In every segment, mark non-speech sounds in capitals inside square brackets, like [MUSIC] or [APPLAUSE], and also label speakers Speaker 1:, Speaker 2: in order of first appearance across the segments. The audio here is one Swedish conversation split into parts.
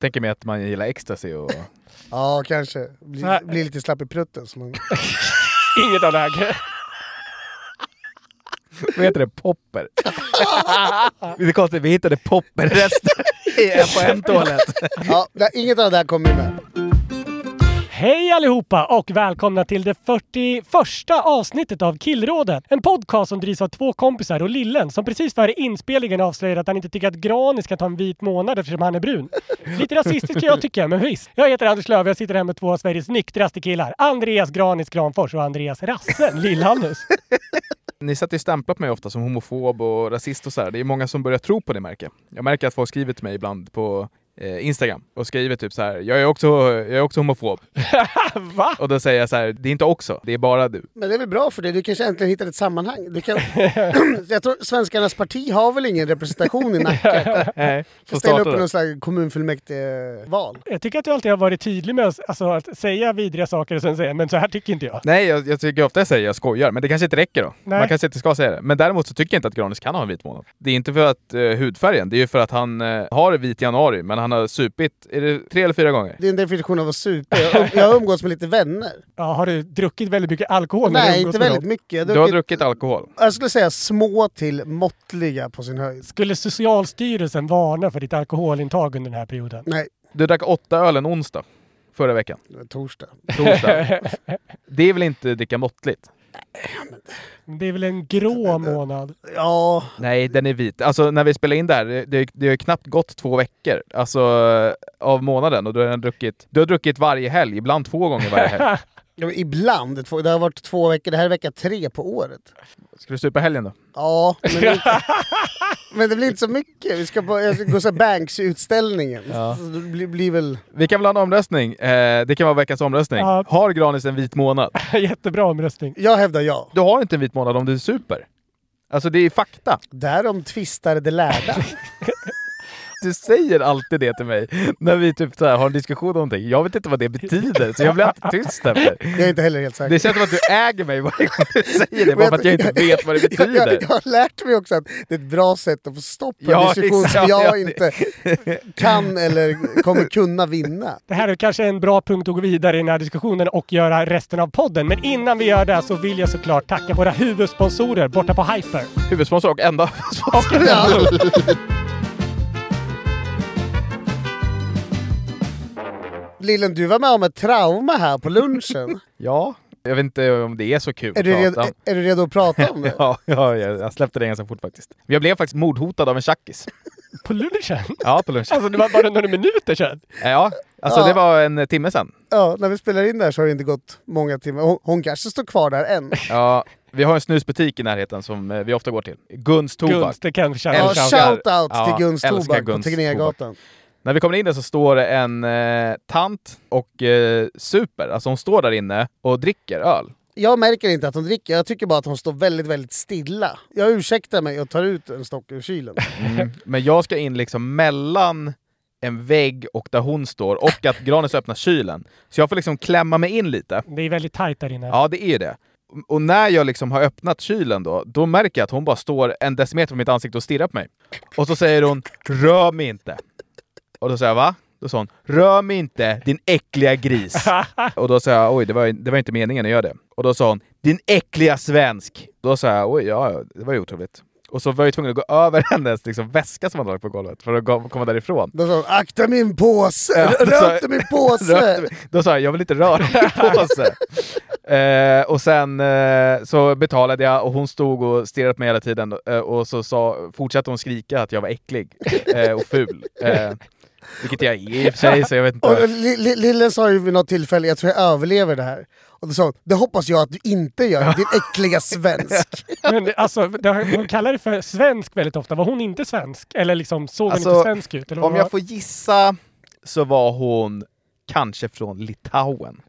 Speaker 1: Tänker mig att man gillar ecstasy och...
Speaker 2: Ja, kanske. Bli,
Speaker 3: Så här-
Speaker 2: bli lite slapp i prutten. Så man...
Speaker 3: Inget av det här.
Speaker 1: Vad heter det? Popper? [LAUGHS] det är konstigt, vi hittade popperrester i FHM-tålet.
Speaker 2: ja, nej, inget av det här kommer med.
Speaker 3: Hej allihopa och välkomna till det 41 avsnittet av Killrådet. En podcast som drivs av två kompisar och Lillen som precis före inspelningen avslöjade att han inte tycker att Granis ska ta en vit månad eftersom han är brun. Lite rasistiskt kan jag tycka, men visst. Jag heter Anders Löf och jag sitter här med två av Sveriges nyktraste killar. Andreas Granis Granfors och Andreas Rassen Lill-Hannes.
Speaker 1: Ni satt ju stämplat mig ofta som homofob och rasist och sådär. Det är många som börjar tro på det märker jag. Jag märker att folk skriver till mig ibland på eh, Instagram och skriver typ så här. jag är också, jag är också homofob.
Speaker 3: Va?
Speaker 1: Och då säger jag så här. det är inte också, det är bara du.
Speaker 2: Men det är väl bra för dig, du kanske äntligen hittar ett sammanhang. Du kan... [CLEARS THROAT] jag tror Svenskarnas parti har väl ingen representation i
Speaker 3: [LAUGHS]
Speaker 2: Nacka?
Speaker 1: Nej,
Speaker 2: Får ställa upp i någon slags kommunfullmäktigeval.
Speaker 3: Jag tycker att du alltid har varit tydlig med oss, alltså, att säga vidriga saker och sen säga men så här tycker inte jag.
Speaker 1: Nej, jag, jag tycker ofta jag säger jag skojar, men det kanske inte räcker då.
Speaker 3: Nej.
Speaker 1: Man kanske inte ska säga det. Men däremot så tycker jag inte att Granis kan ha en vit månad. Det är inte för att eh, hudfärgen, det är ju för att han eh, har vit januari, men han har supit, är det tre eller fyra gånger?
Speaker 2: Det är en definition av att supa. Jag, um-, jag umgås med lite vänner.
Speaker 3: Ja, har du druckit väldigt mycket alkohol? när du
Speaker 2: Nej,
Speaker 3: umgås
Speaker 2: inte
Speaker 3: med
Speaker 2: väldigt
Speaker 3: dem?
Speaker 2: mycket. Jag,
Speaker 1: Du har
Speaker 2: druckit,
Speaker 1: druckit alkohol.
Speaker 2: jag skulle säga små till måttliga på sin höjd.
Speaker 3: Skulle Socialstyrelsen varna för ditt alkoholintag under den här perioden?
Speaker 2: Nej,
Speaker 1: Du drack åtta öl en onsdag förra veckan.
Speaker 2: det var torsdag.
Speaker 1: Torsdag. det är väl inte dricka måttligt?
Speaker 3: Men Det är väl en
Speaker 1: Eh,
Speaker 3: grå månad? [LAUGHS]
Speaker 2: Ja,
Speaker 1: Nej, den är vit. Alltså när vi spelar in det här, det- det det har ju knappt gått två veckor alltså, eh, av månaden och du har redan druckit, du har druckit varje helg, ibland två gånger varje helg.
Speaker 2: ja, men ibland. Det får- Det har varit två veckor. Det här är vecka tre på året.
Speaker 1: Ska du supa helgen då?
Speaker 2: Ja, men det, blir
Speaker 1: [LAUGHS]
Speaker 2: inte, men det blir inte så mycket. Vi ska på, jag ska gå så här Banks-utställningen. Så det blir, blir väl...
Speaker 1: Vi kan väl ha en omröstning? Eh, det kan vara veckans omröstning.
Speaker 3: Ja.
Speaker 1: Har Granis en vit månad?
Speaker 3: Jättebra omröstning.
Speaker 2: Jag hävdar ja.
Speaker 1: Du har inte en vit månad om du är super. Alltså det är fakta.
Speaker 2: Därom tvistar de lärda.
Speaker 1: Du säger alltid det till mig när vi typ så här har en diskussion om någonting. Jag vet inte vad det betyder, så jag blir alltid tyst efter.
Speaker 2: Jag är inte heller helt säker.
Speaker 1: Det känns som att du äger mig varje gång du säger det, bara för att jag inte vet vad det
Speaker 2: [LAUGHS] Jag, jag,
Speaker 1: betyder.
Speaker 2: jag har lärt mig också att det är ett bra sätt att få stopp på
Speaker 1: Ja,
Speaker 2: en diskussion
Speaker 1: exakt.
Speaker 2: som jag
Speaker 1: Ja,
Speaker 2: inte kan eller kommer kunna vinna.
Speaker 3: Det här är kanske en bra punkt att gå vidare i den här diskussionen och göra resten av podden. Men innan vi gör det så vill jag såklart tacka våra huvudsponsorer borta på Hyper.
Speaker 1: Huvudsponsor och enda sponsor.
Speaker 2: Ja. Lillen, du var med om ett trauma här på lunchen.
Speaker 1: Ja, jag vet inte om det är så kul
Speaker 2: Är du
Speaker 1: att
Speaker 2: redo,
Speaker 1: prata om.
Speaker 2: är du redo att prata om det?
Speaker 1: [LAUGHS] Ja, ja, jag jag släppte det ganska fort faktiskt. Men Jag blev faktiskt mordhotad av en tjackis.
Speaker 3: På lunchen? [LAUGHS]
Speaker 1: Ja, på lunchen.
Speaker 3: Alltså det var bara några minuter sedan.
Speaker 1: Ja, alltså
Speaker 2: Ja.
Speaker 1: det var en timme sedan.
Speaker 2: Ja, när vi spelar in där så har det inte gått många timmar. Hon, hon kanske står kvar där än.
Speaker 1: Ja, vi har en snusbutik i närheten som eh, vi ofta går till. Guns Tobak.
Speaker 3: Guns, det kan vi känna.
Speaker 2: Ja,
Speaker 1: Älskar-
Speaker 2: shout-out
Speaker 1: Ja,
Speaker 2: till Guns
Speaker 1: älskar
Speaker 2: Tobak på
Speaker 1: Guns
Speaker 2: Tegnérgatan.
Speaker 1: När vi kommer in där så står det en eh, tant och eh, super. Alltså hon står där inne och dricker öl.
Speaker 2: Jag märker inte att hon dricker, jag tycker bara att hon står väldigt, väldigt stilla. Jag ursäktar mig och tar ut en stock ur kylen.
Speaker 1: Mm. Men jag ska in liksom mellan en vägg och där hon står och att Granis öppnar kylen. Så jag får liksom klämma mig in lite.
Speaker 3: Det är väldigt tajt där inne.
Speaker 1: Ja, det är ju det. Och när jag liksom har öppnat kylen då, då märker jag att hon bara står en decimeter från mitt ansikte och stirrar på mig. Och så säger hon “Rör mig inte”. Och då säger jag “Va?” Då sa hon “Rör mig inte, din äckliga gris”. och då sa jag “Oj, det var, det var inte meningen att göra det”. Och då sa hon “Din äckliga svensk”. Då sa jag “Oj, ja, ja, det var ju otroligt”. Och så var jag ju tvungen att gå över [LAUGHS] hennes liksom, väska som hon hade lagt på golvet för att gå- komma därifrån.
Speaker 2: Då sa hon, akta min påse!
Speaker 1: Ja,
Speaker 2: Rör
Speaker 1: så-
Speaker 2: inte min påse!
Speaker 1: Rökte vi. Då sa jag, jag vill inte röra min påse. Eh, och sen eh, så betalade jag och hon stod och stirrade på mig hela tiden eh, och så sa, fortsatte hon skrika att jag var äcklig eh, och ful. Eh, vilket jag är i och för sig, så jag vet inte.
Speaker 2: Och li- li- Lille sa ju vid något tillfälle, jag tror jag överlever det här. Och då sa hon, det hoppas jag att du inte gör,
Speaker 1: [LAUGHS]
Speaker 2: din äckliga svensk.
Speaker 3: Men alltså, det har- hon kallar det för svensk väldigt ofta. Var hon inte svensk? Eller liksom, såg hon
Speaker 1: Alltså,
Speaker 3: inte svensk ut? Eller vad
Speaker 1: Om jag
Speaker 3: var-
Speaker 1: får gissa så var hon kanske från Litauen.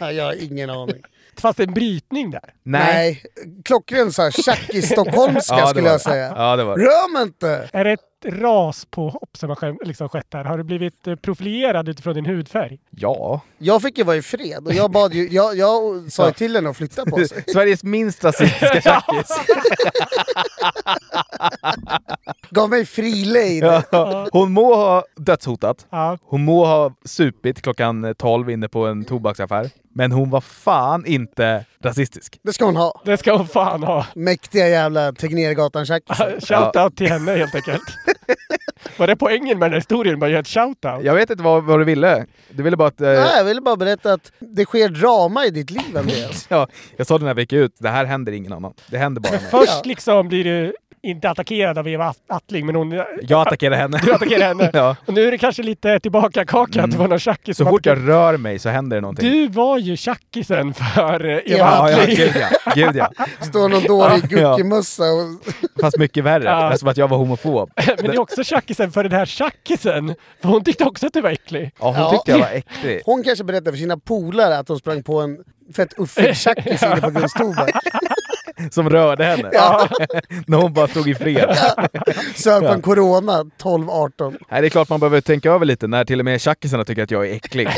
Speaker 2: Nej, jag har ingen aning.
Speaker 3: Fast en brytning där.
Speaker 2: Nej, klockren så här
Speaker 1: [LAUGHS]
Speaker 2: tjackis-stockholmska
Speaker 1: det
Speaker 2: skulle
Speaker 1: var det.
Speaker 2: jag säga.
Speaker 1: Ja, det var det.
Speaker 2: Rör mig inte!
Speaker 3: Är det ett raspåhopp som har ske- liksom skett där? Har du blivit eh, profilerad utifrån din hudfärg?
Speaker 1: Ja.
Speaker 2: Jag fick ju vara i fred och jag bad ju, jag, jag sa ju till henne att flytta på
Speaker 1: [LAUGHS]
Speaker 2: sig.
Speaker 1: Sveriges minst rasistiska tjackis.
Speaker 2: Gav mig fri lejd.
Speaker 1: Ja. Hon må ha dödshotat.
Speaker 3: Ja.
Speaker 1: Hon må ha supit klockan 12 inne på en tobaksaffär. Men hon var fan inte rasistisk.
Speaker 2: Det ska hon ha.
Speaker 3: Det ska hon fan ha.
Speaker 2: Mäktiga jävla Tegnérgatan-tjackisar.
Speaker 3: [LAUGHS] Shoutout till henne helt enkelt.
Speaker 1: [LAUGHS]
Speaker 3: Var det poängen med den här historien? Bara göra ett shoutout?
Speaker 1: Jag vet inte vad, vad du ville. Du ville bara att... Eh,
Speaker 2: Nej, jag ville bara berätta att det sker drama i ditt liv Andreas.
Speaker 1: ja, jag sa det när vi gick ut. Det här händer ingen annan. Det händer bara mig.
Speaker 3: Först liksom blir du inte attackerad av Eva At- Attling, men hon
Speaker 1: Jag attackerar henne.
Speaker 3: du attackerar henne.
Speaker 1: Ja. Mm.
Speaker 3: Och nu är det kanske lite tillbaka-kaka att det var någon tjackis
Speaker 1: Så
Speaker 3: som
Speaker 1: fort
Speaker 3: attackerade.
Speaker 1: jag rör mig så händer det någonting.
Speaker 3: Du var ju tjackisen för eh, Eva
Speaker 2: Ja,
Speaker 1: Ja, ja,
Speaker 3: Attling.
Speaker 1: gud ja. Gud ja.
Speaker 2: Står någon dålig
Speaker 1: Ja.
Speaker 2: guckimössa och...
Speaker 1: Fast mycket värre.
Speaker 3: Ja.
Speaker 1: Eftersom att jag var homofob.
Speaker 3: [LAUGHS] [LAUGHS] Men det är också tjackisen för den här tjackisen. För hon tyckte också att du var äcklig.
Speaker 1: Ja, hon
Speaker 2: Ja.
Speaker 1: tyckte jag var äcklig.
Speaker 2: Hon kanske berättade för sina polare att hon sprang på en fett
Speaker 1: [LAUGHS]
Speaker 2: uffig tjackis inne på Gullstoberg.
Speaker 1: Som rörde henne. [LAUGHS] när hon bara stod i fred.
Speaker 2: Sög på en corona 12-18.
Speaker 1: Nej, det är klart man behöver tänka över lite när till och med tjackisarna tycker att jag är äcklig.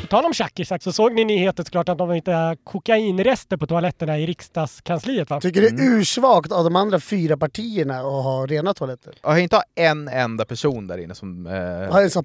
Speaker 3: På tal om tjackisar så såg ni nyheten såklart att de hittade kokainrester på toaletterna i riksdagskansliet va?
Speaker 2: Tycker det är
Speaker 1: Mm.
Speaker 2: ursvagt av de andra fyra partierna att ha rena toaletter.
Speaker 1: Jag har inte ha en enda person där inne som... Eh,
Speaker 2: Har en sån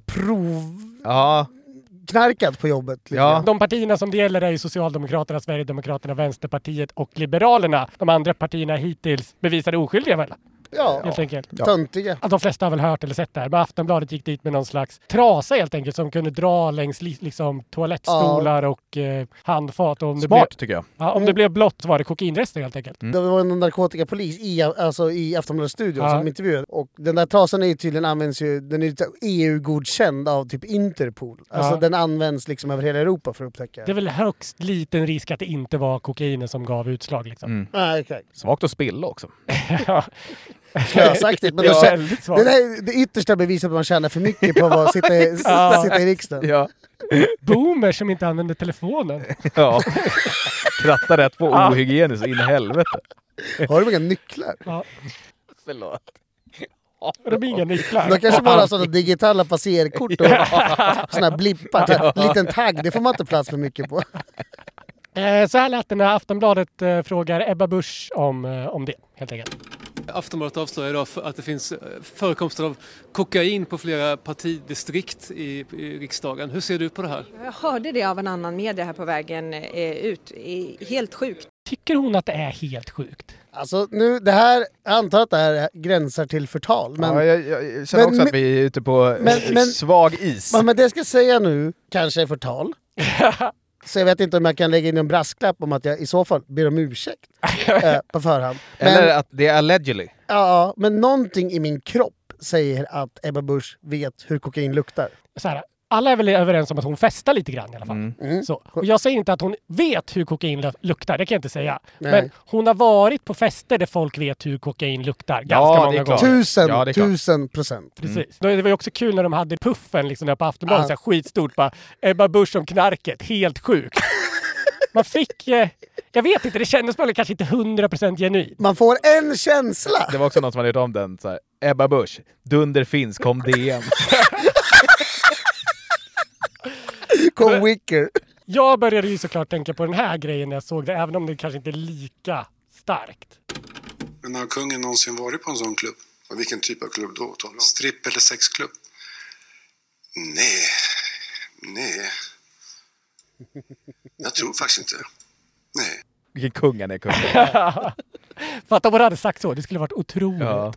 Speaker 1: ja,
Speaker 2: provknarkat på jobbet. liksom? lite
Speaker 1: ja.
Speaker 3: De partierna som det gäller är ju Socialdemokraterna, Sverigedemokraterna, Vänsterpartiet och Liberalerna. De andra partierna hittills bevisade oskyldiga väl?
Speaker 2: Ja,
Speaker 3: Helt enkelt.
Speaker 2: töntiga.
Speaker 3: Att de flesta har väl hört eller sett det här. Men Aftonbladet gick dit med någon slags trasa helt enkelt som kunde dra längs li- liksom, toalettstolar och eh, handfat. Och om det blev-
Speaker 1: Smart tycker jag.
Speaker 3: Ja, om det blev blått var det kokainrester helt enkelt.
Speaker 2: Det var en narkotikapolis i, alltså, i Aftonbladets studio
Speaker 3: Ja.
Speaker 2: som intervjuade. Och den där trasan är ju tydligen används ju, den är ju EU-godkänd av typ Interpol. Alltså
Speaker 3: Ja.
Speaker 2: den används liksom över hela Europa för att upptäcka.
Speaker 3: Det är väl högst liten risk att det inte var kokainen som gav utslag. Liksom.
Speaker 2: Mm. Nej,
Speaker 3: [LAUGHS]
Speaker 2: okej.
Speaker 1: Svagt att spilla också.
Speaker 2: Slösaktigt. Men
Speaker 3: Ja,
Speaker 2: då kä-
Speaker 3: väldigt svagt.
Speaker 2: det, där är det yttersta beviset att man tjänar för mycket på att vara- sitta,
Speaker 3: [LAUGHS]
Speaker 2: i-
Speaker 3: Ja.
Speaker 2: sitta i
Speaker 1: [LAUGHS]
Speaker 2: riksdagen.
Speaker 1: Ja.
Speaker 3: Boomer som inte använder telefonen.
Speaker 1: ja. Kratta rätt
Speaker 2: [LAUGHS]
Speaker 1: på ohygieniskt in i helvete.
Speaker 2: Har de inga nycklar?
Speaker 3: Ja.
Speaker 1: Förlåt.
Speaker 3: Och de har inga nycklar.
Speaker 2: De kanske bara har sådana digitala passerkort och sådana här blippar. Ja. Liten tagg, det får man inte plats för mycket på.
Speaker 3: Eh, Så här lät det när Aftonbladet eh, frågar Ebba Busch om, eh, om det. Helt enkelt.
Speaker 4: Aftonbladet avslöjar idag f- att det finns eh, förekomster av kokain på flera partidistrikt i, i riksdagen. Hur ser du på det här?
Speaker 5: Jag hörde det av en annan media här på vägen eh, ut. I- Helt sjukt.
Speaker 3: Tycker hon att det är helt sjukt?
Speaker 2: Alltså nu, det här, jag antar att det här gränsar till förtal. Men
Speaker 1: ja, jag, jag jag känner
Speaker 2: Men-
Speaker 1: också att vi är ute på eh,
Speaker 2: men- men-
Speaker 1: svag is.
Speaker 2: Men, men det jag ska säga nu kanske
Speaker 1: [LAUGHS]
Speaker 2: är förtal. Så jag vet inte om jag kan lägga in en brasklapp om att jag i så fall ber om ursäkt
Speaker 1: [LAUGHS]
Speaker 2: eh, på förhand. Men,
Speaker 1: Eller att det är allegedly.
Speaker 2: ja, ja, men någonting i min kropp säger att Ebba Busch vet hur kokain luktar.
Speaker 3: Så här, alla är väl överens om att hon festar lite grann i alla fall.
Speaker 1: Mm.
Speaker 2: Mm.
Speaker 3: Så. Och jag säger inte att hon vet hur kokain lu- luktar, det kan jag inte säga.
Speaker 2: Nej.
Speaker 3: Men hon har varit på fester där folk vet hur kokain luktar ganska
Speaker 1: Ja, det är
Speaker 3: många
Speaker 1: klart.
Speaker 3: gånger.
Speaker 2: Tusen,
Speaker 1: Ja, det är klart. Mm.
Speaker 2: tusen procent.
Speaker 3: Precis. Då- Det var ju också kul när de hade puffen liksom där på Aftonbladet, så här skitstort bara Ebba Busch om knarket, helt sjukt. Man fick, eh, jag vet inte, det kändes bara kanske inte 100% genuint.
Speaker 2: Man får en känsla!
Speaker 1: Det var också någon som hade gjort om den. Så här, Ebba Busch, dunder finns, kom DM.
Speaker 2: Kom Wicker.
Speaker 3: Jag började ju såklart tänka på den här grejen när jag såg det, även om det kanske inte är lika starkt.
Speaker 6: Men har kungen någonsin varit på en sån klubb? Och vilken typ av klubb då? talar du om? Stripp eller sexklubb? Nej, nej. Jag tror faktiskt inte. Nej.
Speaker 1: Vilken kung han är, kungen.
Speaker 2: [LAUGHS]
Speaker 3: Fatta om hon hade sagt så, det skulle varit otroligt.
Speaker 1: Ja.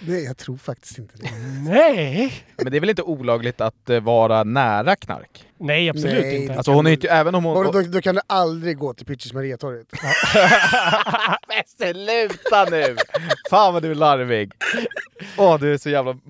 Speaker 2: Nej, jag tror faktiskt inte
Speaker 1: [LAUGHS]
Speaker 2: det.
Speaker 3: Nej!
Speaker 1: Men det är väl inte olagligt att eh, vara nära knark?
Speaker 3: Nej, absolut
Speaker 2: Nej,
Speaker 3: inte.
Speaker 2: det-
Speaker 1: Alltså hon är ju inte, även om hon...
Speaker 2: Och då, då kan du aldrig gå till Pytches Mariatorget.
Speaker 1: Men sluta nu! Fan vad du är larvig! Åh, du är så jävla m-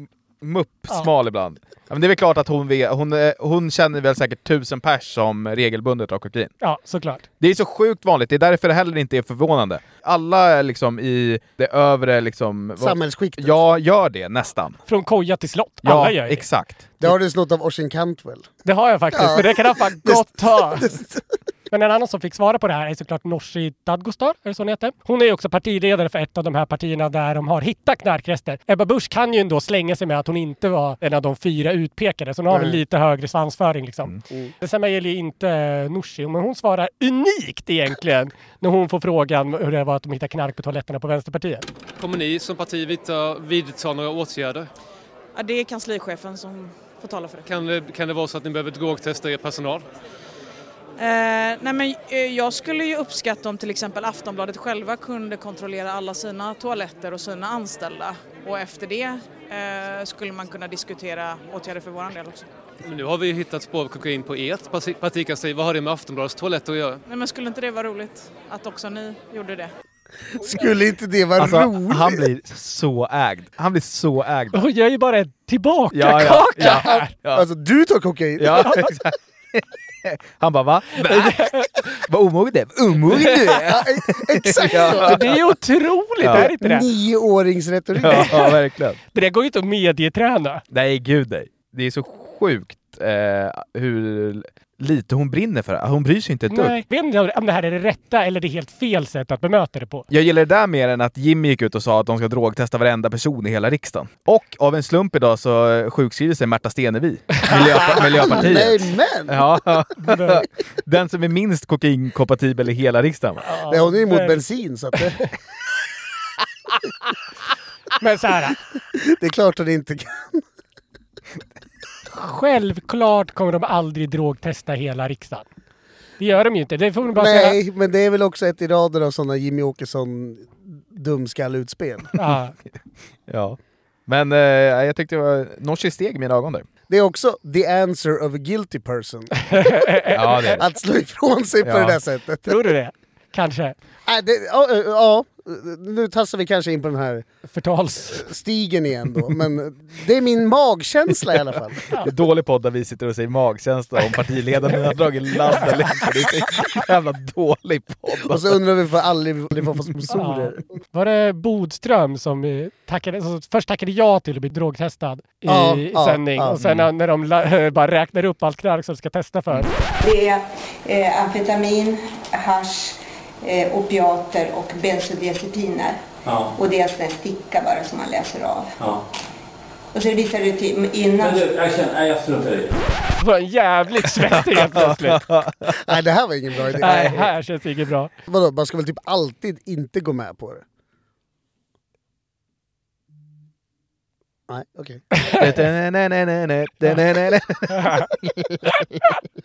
Speaker 1: muppsmal ibland. Ja, men det är väl klart att hon, vet, hon, eh, hon känner väl säkert tusen pers som regelbundet har kokain.
Speaker 3: Ja, såklart.
Speaker 1: Det är så sjukt vanligt, det är därför det heller inte är förvånande. Alla är liksom i det övre liksom... vad-
Speaker 2: Samhällsskiktet.
Speaker 1: Ja, gör det nästan.
Speaker 3: Från koja till slott.
Speaker 1: Ja,
Speaker 3: Alla gör det.
Speaker 1: exakt.
Speaker 2: Det har du snott av Oisin Cantwell.
Speaker 3: Det har jag faktiskt,
Speaker 2: Ja.
Speaker 3: men det kan han fan
Speaker 2: [LAUGHS]
Speaker 3: gott ha. Men en annan som fick svara på det här är såklart Nooshi Dadgostar, är det så hon heter? Hon är ju också partiledare för ett av de här partierna där de har hittat knarkrester. Ebba Busch kan ju ändå slänga sig med att hon inte var en av de fyra utpekade, så hon har väl
Speaker 1: Mm.
Speaker 3: lite högre svansföring liksom. Detsamma gäller ju inte eh, Nooshi, men hon svarar unikt egentligen [LAUGHS] när hon får frågan hur det var att de hittade knark på toaletterna på Vänsterpartiet.
Speaker 4: Kommer ni som parti vidta, vidta några åtgärder?
Speaker 7: Ja, det är kanslichefen som får tala för det.
Speaker 4: Kan, det- kan det vara så att ni behöver drogtesta er personal?
Speaker 7: Eh, nej men, eh, jag skulle ju uppskatta om till exempel Aftonbladet själva kunde kontrollera alla sina toaletter och sina anställda. Och efter det eh, skulle man kunna diskutera åtgärder för vår del också.
Speaker 4: Men nu har vi ju hittat spår av kokain på ert parti- partikansli. Vad har det med Aftonbladets toaletter att göra?
Speaker 7: Nej, men skulle inte det vara roligt att också ni gjorde det?
Speaker 2: Skulle inte det vara
Speaker 1: Alltså,
Speaker 2: roligt?
Speaker 1: han blir så ägd. Han blir så ägd.
Speaker 3: Hon gör ju bara en
Speaker 1: Ja,
Speaker 3: tillbaka-kaka
Speaker 1: ja, ja,
Speaker 3: här!
Speaker 1: ja.
Speaker 2: Alltså du tar kokain?
Speaker 1: Ja, [LAUGHS] exakt. Han bara va? va? [LAUGHS] Vad omogen du är. Vad Omogen du är.
Speaker 2: Ja, e- [LAUGHS] exakt
Speaker 3: Ja,
Speaker 2: så!
Speaker 3: [LAUGHS] Det är ju otroligt,
Speaker 1: Ja.
Speaker 3: är det inte det?
Speaker 2: Mm. Nioåringsretorik.
Speaker 1: Ja, [LAUGHS] ja, verkligen.
Speaker 3: Det där går ju inte att medieträna.
Speaker 1: Nej, gud nej. Det är så sjukt eh, hur lite hon brinner för det. Hon bryr sig inte ett dugg.
Speaker 3: Nej. Vet inte om det här är det rätta eller det är helt fel sätt att bemöta det på.
Speaker 1: Jag gillar det där mer än att Jimmy gick ut och sa att de ska drogtesta varenda person i hela riksdagen. Och av en slump idag så sjukskriver sig Märta Stenevi, [LAUGHS] Miljöpa- Miljöpartiet.
Speaker 2: Nej men!
Speaker 1: Ja, den som är minst kokainkompatibel i hela riksdagen. va?
Speaker 2: Nej, hon är ju emot
Speaker 3: Nej.
Speaker 2: bensin så att det,
Speaker 3: Men så här,
Speaker 2: det är klart att det inte kan.
Speaker 3: självklart kommer de aldrig drogtesta hela riksdagen. Det gör de ju inte. Det får de bara
Speaker 1: Alltså,
Speaker 3: säga.
Speaker 2: Nej, men det är väl också ett i raden av sådana Jimmy Åkesson dumskallutspel.
Speaker 3: Ja.
Speaker 1: Ja. Men eh, jag tyckte det var Nooshi steg i mina ögon där.
Speaker 2: Det är också the answer of a guilty person.
Speaker 1: Ja, det är det.
Speaker 2: Att slå ifrån sig på
Speaker 1: Ja.
Speaker 2: det där sättet.
Speaker 3: Tror du det? Kanske.
Speaker 2: Nej, det- Ja, ja, ja, nu tassar vi kanske in på den här
Speaker 3: Förtals.
Speaker 2: stigen igen då, men det är min magkänsla i alla fall.
Speaker 1: det är dålig podd där vi sitter och säger magkänsla om partiledaren har dragit ladd eller inte. Det är så jävla dålig podd.
Speaker 2: Och så undrar vi för aldrig om vi får
Speaker 3: Ja.
Speaker 2: sponsorer.
Speaker 3: Var det Bodström som eh, tackade, som först tackade ja till att bli drogtestad i
Speaker 2: Ja, ja,
Speaker 3: sändning
Speaker 2: ja.
Speaker 3: och sen när, när de la, [LAUGHS] bara räknar upp allt knark som de ska testa för.
Speaker 7: Det är eh, amfetamin, hasch, eh, opiater och bensodiazepiner. Och det är en sån där sticka bara som man läser av. Och så visar du till innan.
Speaker 3: Det var en
Speaker 2: [LAUGHS]
Speaker 3: jävligt svettig helt plötsligt.
Speaker 2: Nej, det här var ingen bra idé.
Speaker 3: Nej, här känns det inget bra.
Speaker 2: Vadå, man ska väl typ alltid inte gå med på det? Nej, okej.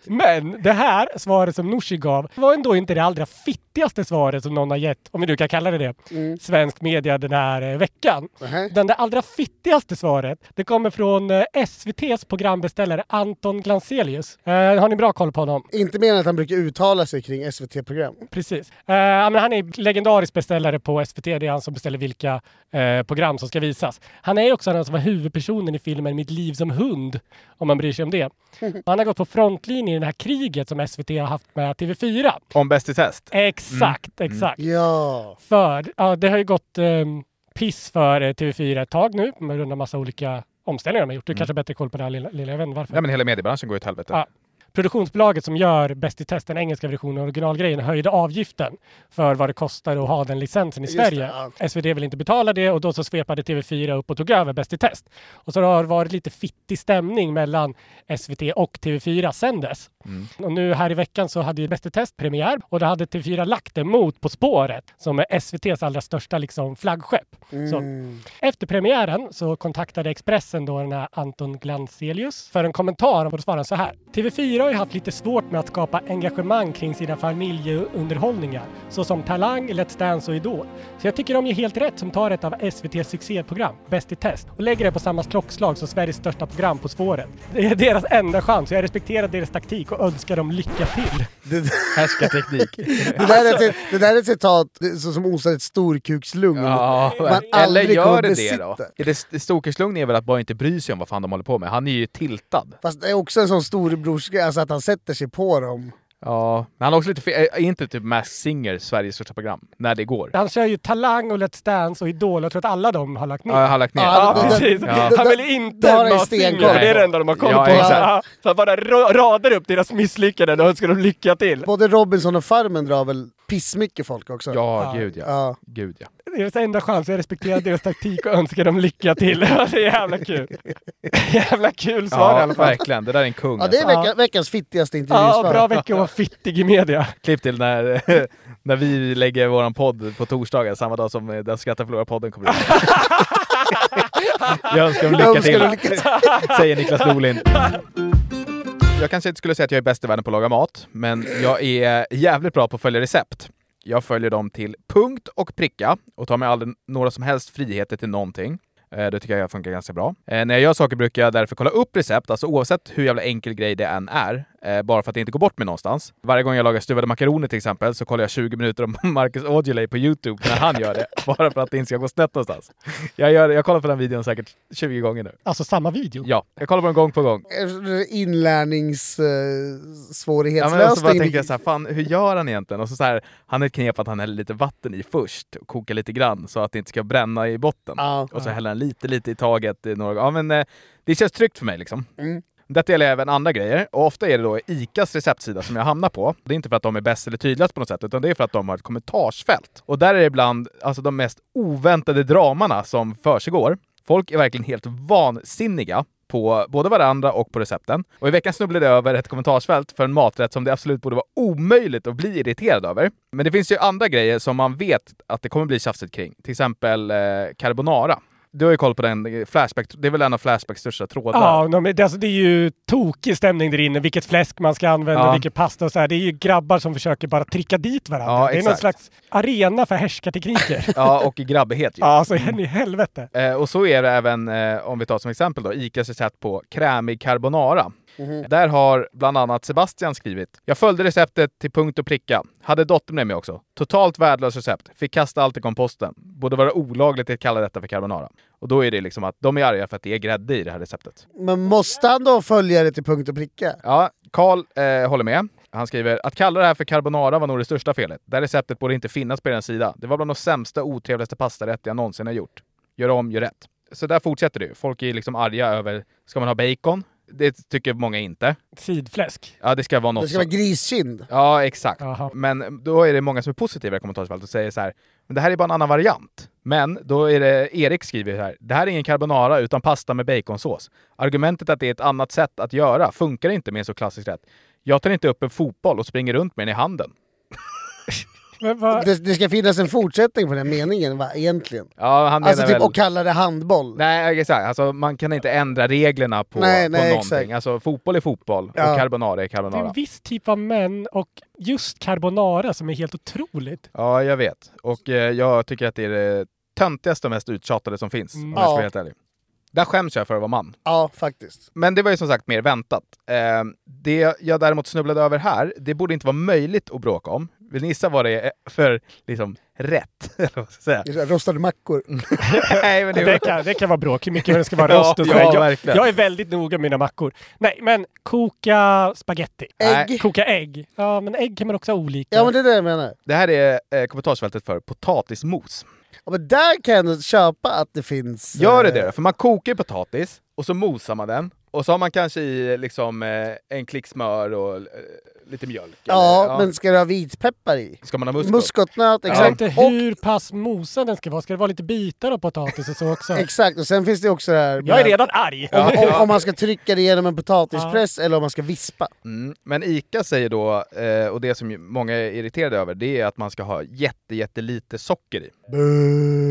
Speaker 3: Men det här svaret som Nooshi gav var ändå inte det allra fittigaste svaret som någon har gett, om vi nu kan kalla det det, svensk media den här eh, veckan.
Speaker 2: Nähä.
Speaker 3: Den det allra fittigaste svaret, det kommer från eh, SVTs programbeställare Anton Glanzelius. Eh, har ni bra koll på honom?
Speaker 2: Inte mer än att han brukar uttala sig kring SVT-program.
Speaker 3: Precis. Eh, ja, men han är legendarisk beställare på SVT. Det är han som beställer vilka eh, program som ska visas. Han är ju också den som var huvudpersonen i filmen Mitt liv som hund, om man bryr sig om det. Han har gått på frontlinjen i det här kriget som SVT har haft med TV4.
Speaker 1: Om Bäst i test.
Speaker 3: Exakt, exakt.
Speaker 2: Ja,
Speaker 3: För ja, det har ju gått ehm, piss för eh, TV4 ett tag nu med grund av massa olika omställningar de har gjort. Du kanske har bättre koll på det här lilla, lilla jag vet inte varför.
Speaker 1: Nej men hela mediebranschen går ju åt helvete.
Speaker 3: Ja. Produktionsbolaget som gör Bäst i test, den engelska versionen av originalgrejen, höjde avgiften för vad det kostar att ha den licensen i
Speaker 2: Just
Speaker 3: Sverige.
Speaker 2: det,
Speaker 3: SvD vill inte betala det och då så svepade TV4 upp och tog över Bäst i test. Och så har det varit lite fittig stämning mellan SVT och TV4 sen dess.
Speaker 2: Mm.
Speaker 3: Och nu här i veckan så hade ju Bäst i test premiär och då hade TV4 lagt det mot På spåret som är SVTs allra största liksom, flaggskepp. Så,
Speaker 2: Mm.
Speaker 3: efter premiären så kontaktade Expressen då den här Anton Glanzelius för en kommentar och då svarade han så här. TV4 har ju haft lite svårt med att skapa engagemang kring sina familjeunderhållningar, såsom Talang, Let's Dance och Idol. Så jag tycker de gör helt rätt som tar ett av SVTs succéprogram, Bäst i test, och lägger det på samma klockslag som Sveriges största program På spåret. Det är deras enda chans, jag respekterar deras taktik och önskar dem lycka till.
Speaker 1: Härskarteknik.
Speaker 2: Det där, är ett, det där är ett citat så- som osar ett storkukslugn.
Speaker 1: Ja,
Speaker 2: man
Speaker 1: eller
Speaker 2: aldrig kommer
Speaker 1: gör det det
Speaker 2: besitta.
Speaker 1: då? Är det st- Stokerslugn är väl att bara inte bry sig om vad fan de håller på med. Han är ju tiltad.
Speaker 2: Fast det är också en sån storebrorsgrej, alltså att han sätter sig på dem.
Speaker 1: Ja, men han har också lite fel. Är inte typ Mass Singer Sveriges största program? När det går.
Speaker 3: Han kör ju Talang och Let's Dance och Idol, jag tror att alla de har lagt ner.
Speaker 1: Ja, jag har lagt ner.
Speaker 3: Ja,
Speaker 1: Ja.
Speaker 3: precis.
Speaker 1: Ja.
Speaker 3: Han vill
Speaker 2: Då
Speaker 3: inte
Speaker 2: har han
Speaker 3: vara
Speaker 2: stenkoll.
Speaker 3: singel, för det är det enda de har koll
Speaker 1: Ja,
Speaker 3: på.
Speaker 1: exakt.
Speaker 3: Ja. Så han bara ra- radar upp deras misslyckanden och önskar dem lycka till.
Speaker 2: Både Robinson och Farmen drar väl pissmycket folk också?
Speaker 1: Ja, gud ja.
Speaker 2: Ja.
Speaker 1: Gud ja.
Speaker 3: Deras enda chans, jag respekterar deras taktik och önskar dem lycka till. Det är jävla kul. [LAUGHS] Jävla kul svar i
Speaker 1: Ja,
Speaker 3: alla fall.
Speaker 1: verkligen. Det där är en kung.
Speaker 2: Ja, det är
Speaker 1: alltså.
Speaker 2: vecka, veckans fittigaste
Speaker 3: Ja,
Speaker 2: intervjusvar.
Speaker 3: och bra vecka att vara fittig i media.
Speaker 1: Klipp till när, [LAUGHS] när vi lägger våran podd på torsdagar, samma dag som eh, Den skrattar förlorar-podden kommer ut.
Speaker 2: [LAUGHS]
Speaker 1: Jag önskar dem lycka
Speaker 2: Jag önskar
Speaker 1: till,
Speaker 2: dem lycka
Speaker 1: [LAUGHS] säger Niklas Norlind. Jag kanske inte skulle säga att jag är bäst i världen på att laga mat, men jag är jävligt bra på att följa recept. Jag följer dem till punkt och pricka och tar mig aldrig några som helst friheter till någonting. Eh, Det tycker jag funkar ganska bra. Eh, När jag gör saker brukar jag därför kolla upp recept, alltså oavsett hur jävla enkel grej det än är, eh, bara för att det inte går bort mig någonstans. Varje gång jag lagar stuvade makaroner till exempel så kollar jag 20 minuter om [LAUGHS] Marcus Aujalay på YouTube när han gör det, [LAUGHS] bara för att det inte ska gå snett någonstans. Jag, gör, jag kollar på den videon säkert 20 gånger nu.
Speaker 3: Alltså samma video.
Speaker 1: Ja, jag kollar på den gång på gång. Ja, men och så bara
Speaker 2: Inlärningssvårighetslösning.
Speaker 1: tänker jag så här, fan hur gör han egentligen? Och så, så här, han har ett knep att han häller lite vatten i först och kokar lite grann så att det inte ska bränna i botten.
Speaker 2: Ja.
Speaker 1: Och så häller han lite, lite i taget. i Några, ja, men, eh, det känns tryggt för mig liksom. Detta gäller även andra grejer och ofta är det då ICAs receptsida som jag hamnar på. Det är inte för att de är bäst eller tydligast på något sätt utan det är för att de har ett kommentarsfält. Och där är det ibland alltså, de mest oväntade dramarna som försiggår. Folk är verkligen helt vansinniga på både varandra och på recepten. Och i veckan snubblade jag över ett kommentarsfält för en maträtt som det absolut borde vara omöjligt att bli irriterad över. Men det finns ju andra grejer som man vet att det kommer bli tjafsigt kring. Till exempel eh, carbonara. Du har ju koll på den eh, Flashback, det är väl en av Flashbacks största trådar?
Speaker 3: Ja, de, är- det, alltså, det är ju tokig stämning där inne. Vilket fläsk man ska använda,
Speaker 1: Ja.
Speaker 3: vilket pasta och så här. Det är ju grabbar som försöker bara trycka dit varandra.
Speaker 1: Ja,
Speaker 3: det är någon
Speaker 1: exakt.
Speaker 3: slags arena
Speaker 1: [LAUGHS]
Speaker 3: för härskartekniker.
Speaker 1: Ja, och i grabbighet ju.
Speaker 3: ja, så in i helvete.
Speaker 1: Eh, och så är det även, eh, om vi tar som exempel då, Icas recept på krämig carbonara. Där har bland annat Sebastian skrivit. Jag följde receptet till punkt och pricka. Hade dottern med mig också. Totalt värdelöst recept. Fick kasta allt i komposten. Borde vara olagligt att kalla detta för carbonara. Och då är det liksom att de är arga för att det är grädde i det här receptet.
Speaker 2: Men måste han då följa det till punkt och pricka?
Speaker 1: Ja, Karl eh, håller med. Han skriver att kalla det här för carbonara var nog det största felet. Det här receptet borde inte finnas på er sida. Det var bland de sämsta, otrevligaste pastarätter jag någonsin har gjort. Gör om, gör rätt. Så där fortsätter det ju. Folk är liksom arga över, ska man ha bacon? Det tycker många inte.
Speaker 3: Sidfläsk.
Speaker 1: Ja, det ska vara något
Speaker 2: Det ska
Speaker 1: som-
Speaker 2: vara griskind.
Speaker 1: Ja, exakt.
Speaker 3: Jaha.
Speaker 1: Men då är det många som är positiva i kommentarsfältet och säger så här, men det här är bara en annan variant. Men då är det Erik skriver här, det här är ingen carbonara utan pasta med baconsås. Argumentet att det är ett annat sätt att göra funkar inte med en så klassisk rätt. Jag tar inte upp en fotboll och springer runt med den i handen.
Speaker 3: Men vad-
Speaker 2: Det, det ska finnas en fortsättning på den här meningen va, egentligen.
Speaker 1: Ja, han
Speaker 2: Alltså
Speaker 1: menar
Speaker 2: typ
Speaker 1: väl...
Speaker 2: och kalla det handboll.
Speaker 1: Nej, exakt. Alltså, man kan inte ändra reglerna på,
Speaker 2: Nej,
Speaker 1: på
Speaker 2: nej,
Speaker 1: någonting.
Speaker 2: exakt.
Speaker 1: Alltså, fotboll är fotboll
Speaker 2: Ja.
Speaker 1: och carbonara är
Speaker 3: Det är en
Speaker 1: carbonara.
Speaker 3: viss typ av män och just carbonara som är helt otroligt.
Speaker 1: Ja, jag vet. Och eh, jag tycker att det är det töntigaste och mest uttjatade som finns, om jag
Speaker 2: Ja.
Speaker 1: ska vara helt ärlig. Där skäms jag för att vara man.
Speaker 2: Ja, faktiskt.
Speaker 1: Men det var ju som sagt mer väntat. Eh, det jag däremot snubblade över här, det borde inte vara möjligt att bråka om. Vill ni gissa vad det är för liksom, rätt? [LAUGHS] Eller vad ska jag
Speaker 2: Det
Speaker 1: säga?
Speaker 2: är [LAUGHS] så här, Rostade mackor.
Speaker 1: Mm. Nej, men det
Speaker 3: Det
Speaker 1: var...
Speaker 3: kan, det kan vara bråk, hur mycket det ska
Speaker 1: [LAUGHS]
Speaker 3: vara
Speaker 1: Ja,
Speaker 3: rost och så.
Speaker 1: ja,
Speaker 3: jag,
Speaker 1: verkligen.
Speaker 3: jag är väldigt noga med mina mackor. Nej, men koka spaghetti.
Speaker 1: Nej,
Speaker 2: Ägg.
Speaker 3: Koka ägg. Ja, men ägg kan man också ha olika.
Speaker 2: Ja men det är det jag menar.
Speaker 1: det här är eh, kommentarsfältet för potatismos.
Speaker 2: Ja, men där kan jag ändå köpa att det finns...
Speaker 1: Gör det
Speaker 2: eh,
Speaker 1: det då? För man kokar ju potatis och så mosar man den. Och så har man kanske i liksom, eh, en klick smör och eh, lite mjölk.
Speaker 2: Ja,
Speaker 1: eller-
Speaker 2: men ska du ha vitpeppar i?
Speaker 1: Ska man ha muskot?
Speaker 2: Muskotnöt,
Speaker 3: Jag vet
Speaker 2: exakt.
Speaker 3: inte
Speaker 2: Och,
Speaker 3: hur pass mosad den ska vara. Ska det vara lite bitar av potatis och så
Speaker 2: [LAUGHS]
Speaker 3: också?
Speaker 2: exakt, och sen finns det också det här
Speaker 3: jag är
Speaker 2: med-
Speaker 3: redan arg.
Speaker 2: om, om, om man ska trycka det genom en potatispress eller om man ska vispa.
Speaker 1: Mm. Men ICA säger då, eh, och det som ju många är irriterade över, det är att man ska ha jätte, jättelite socker i.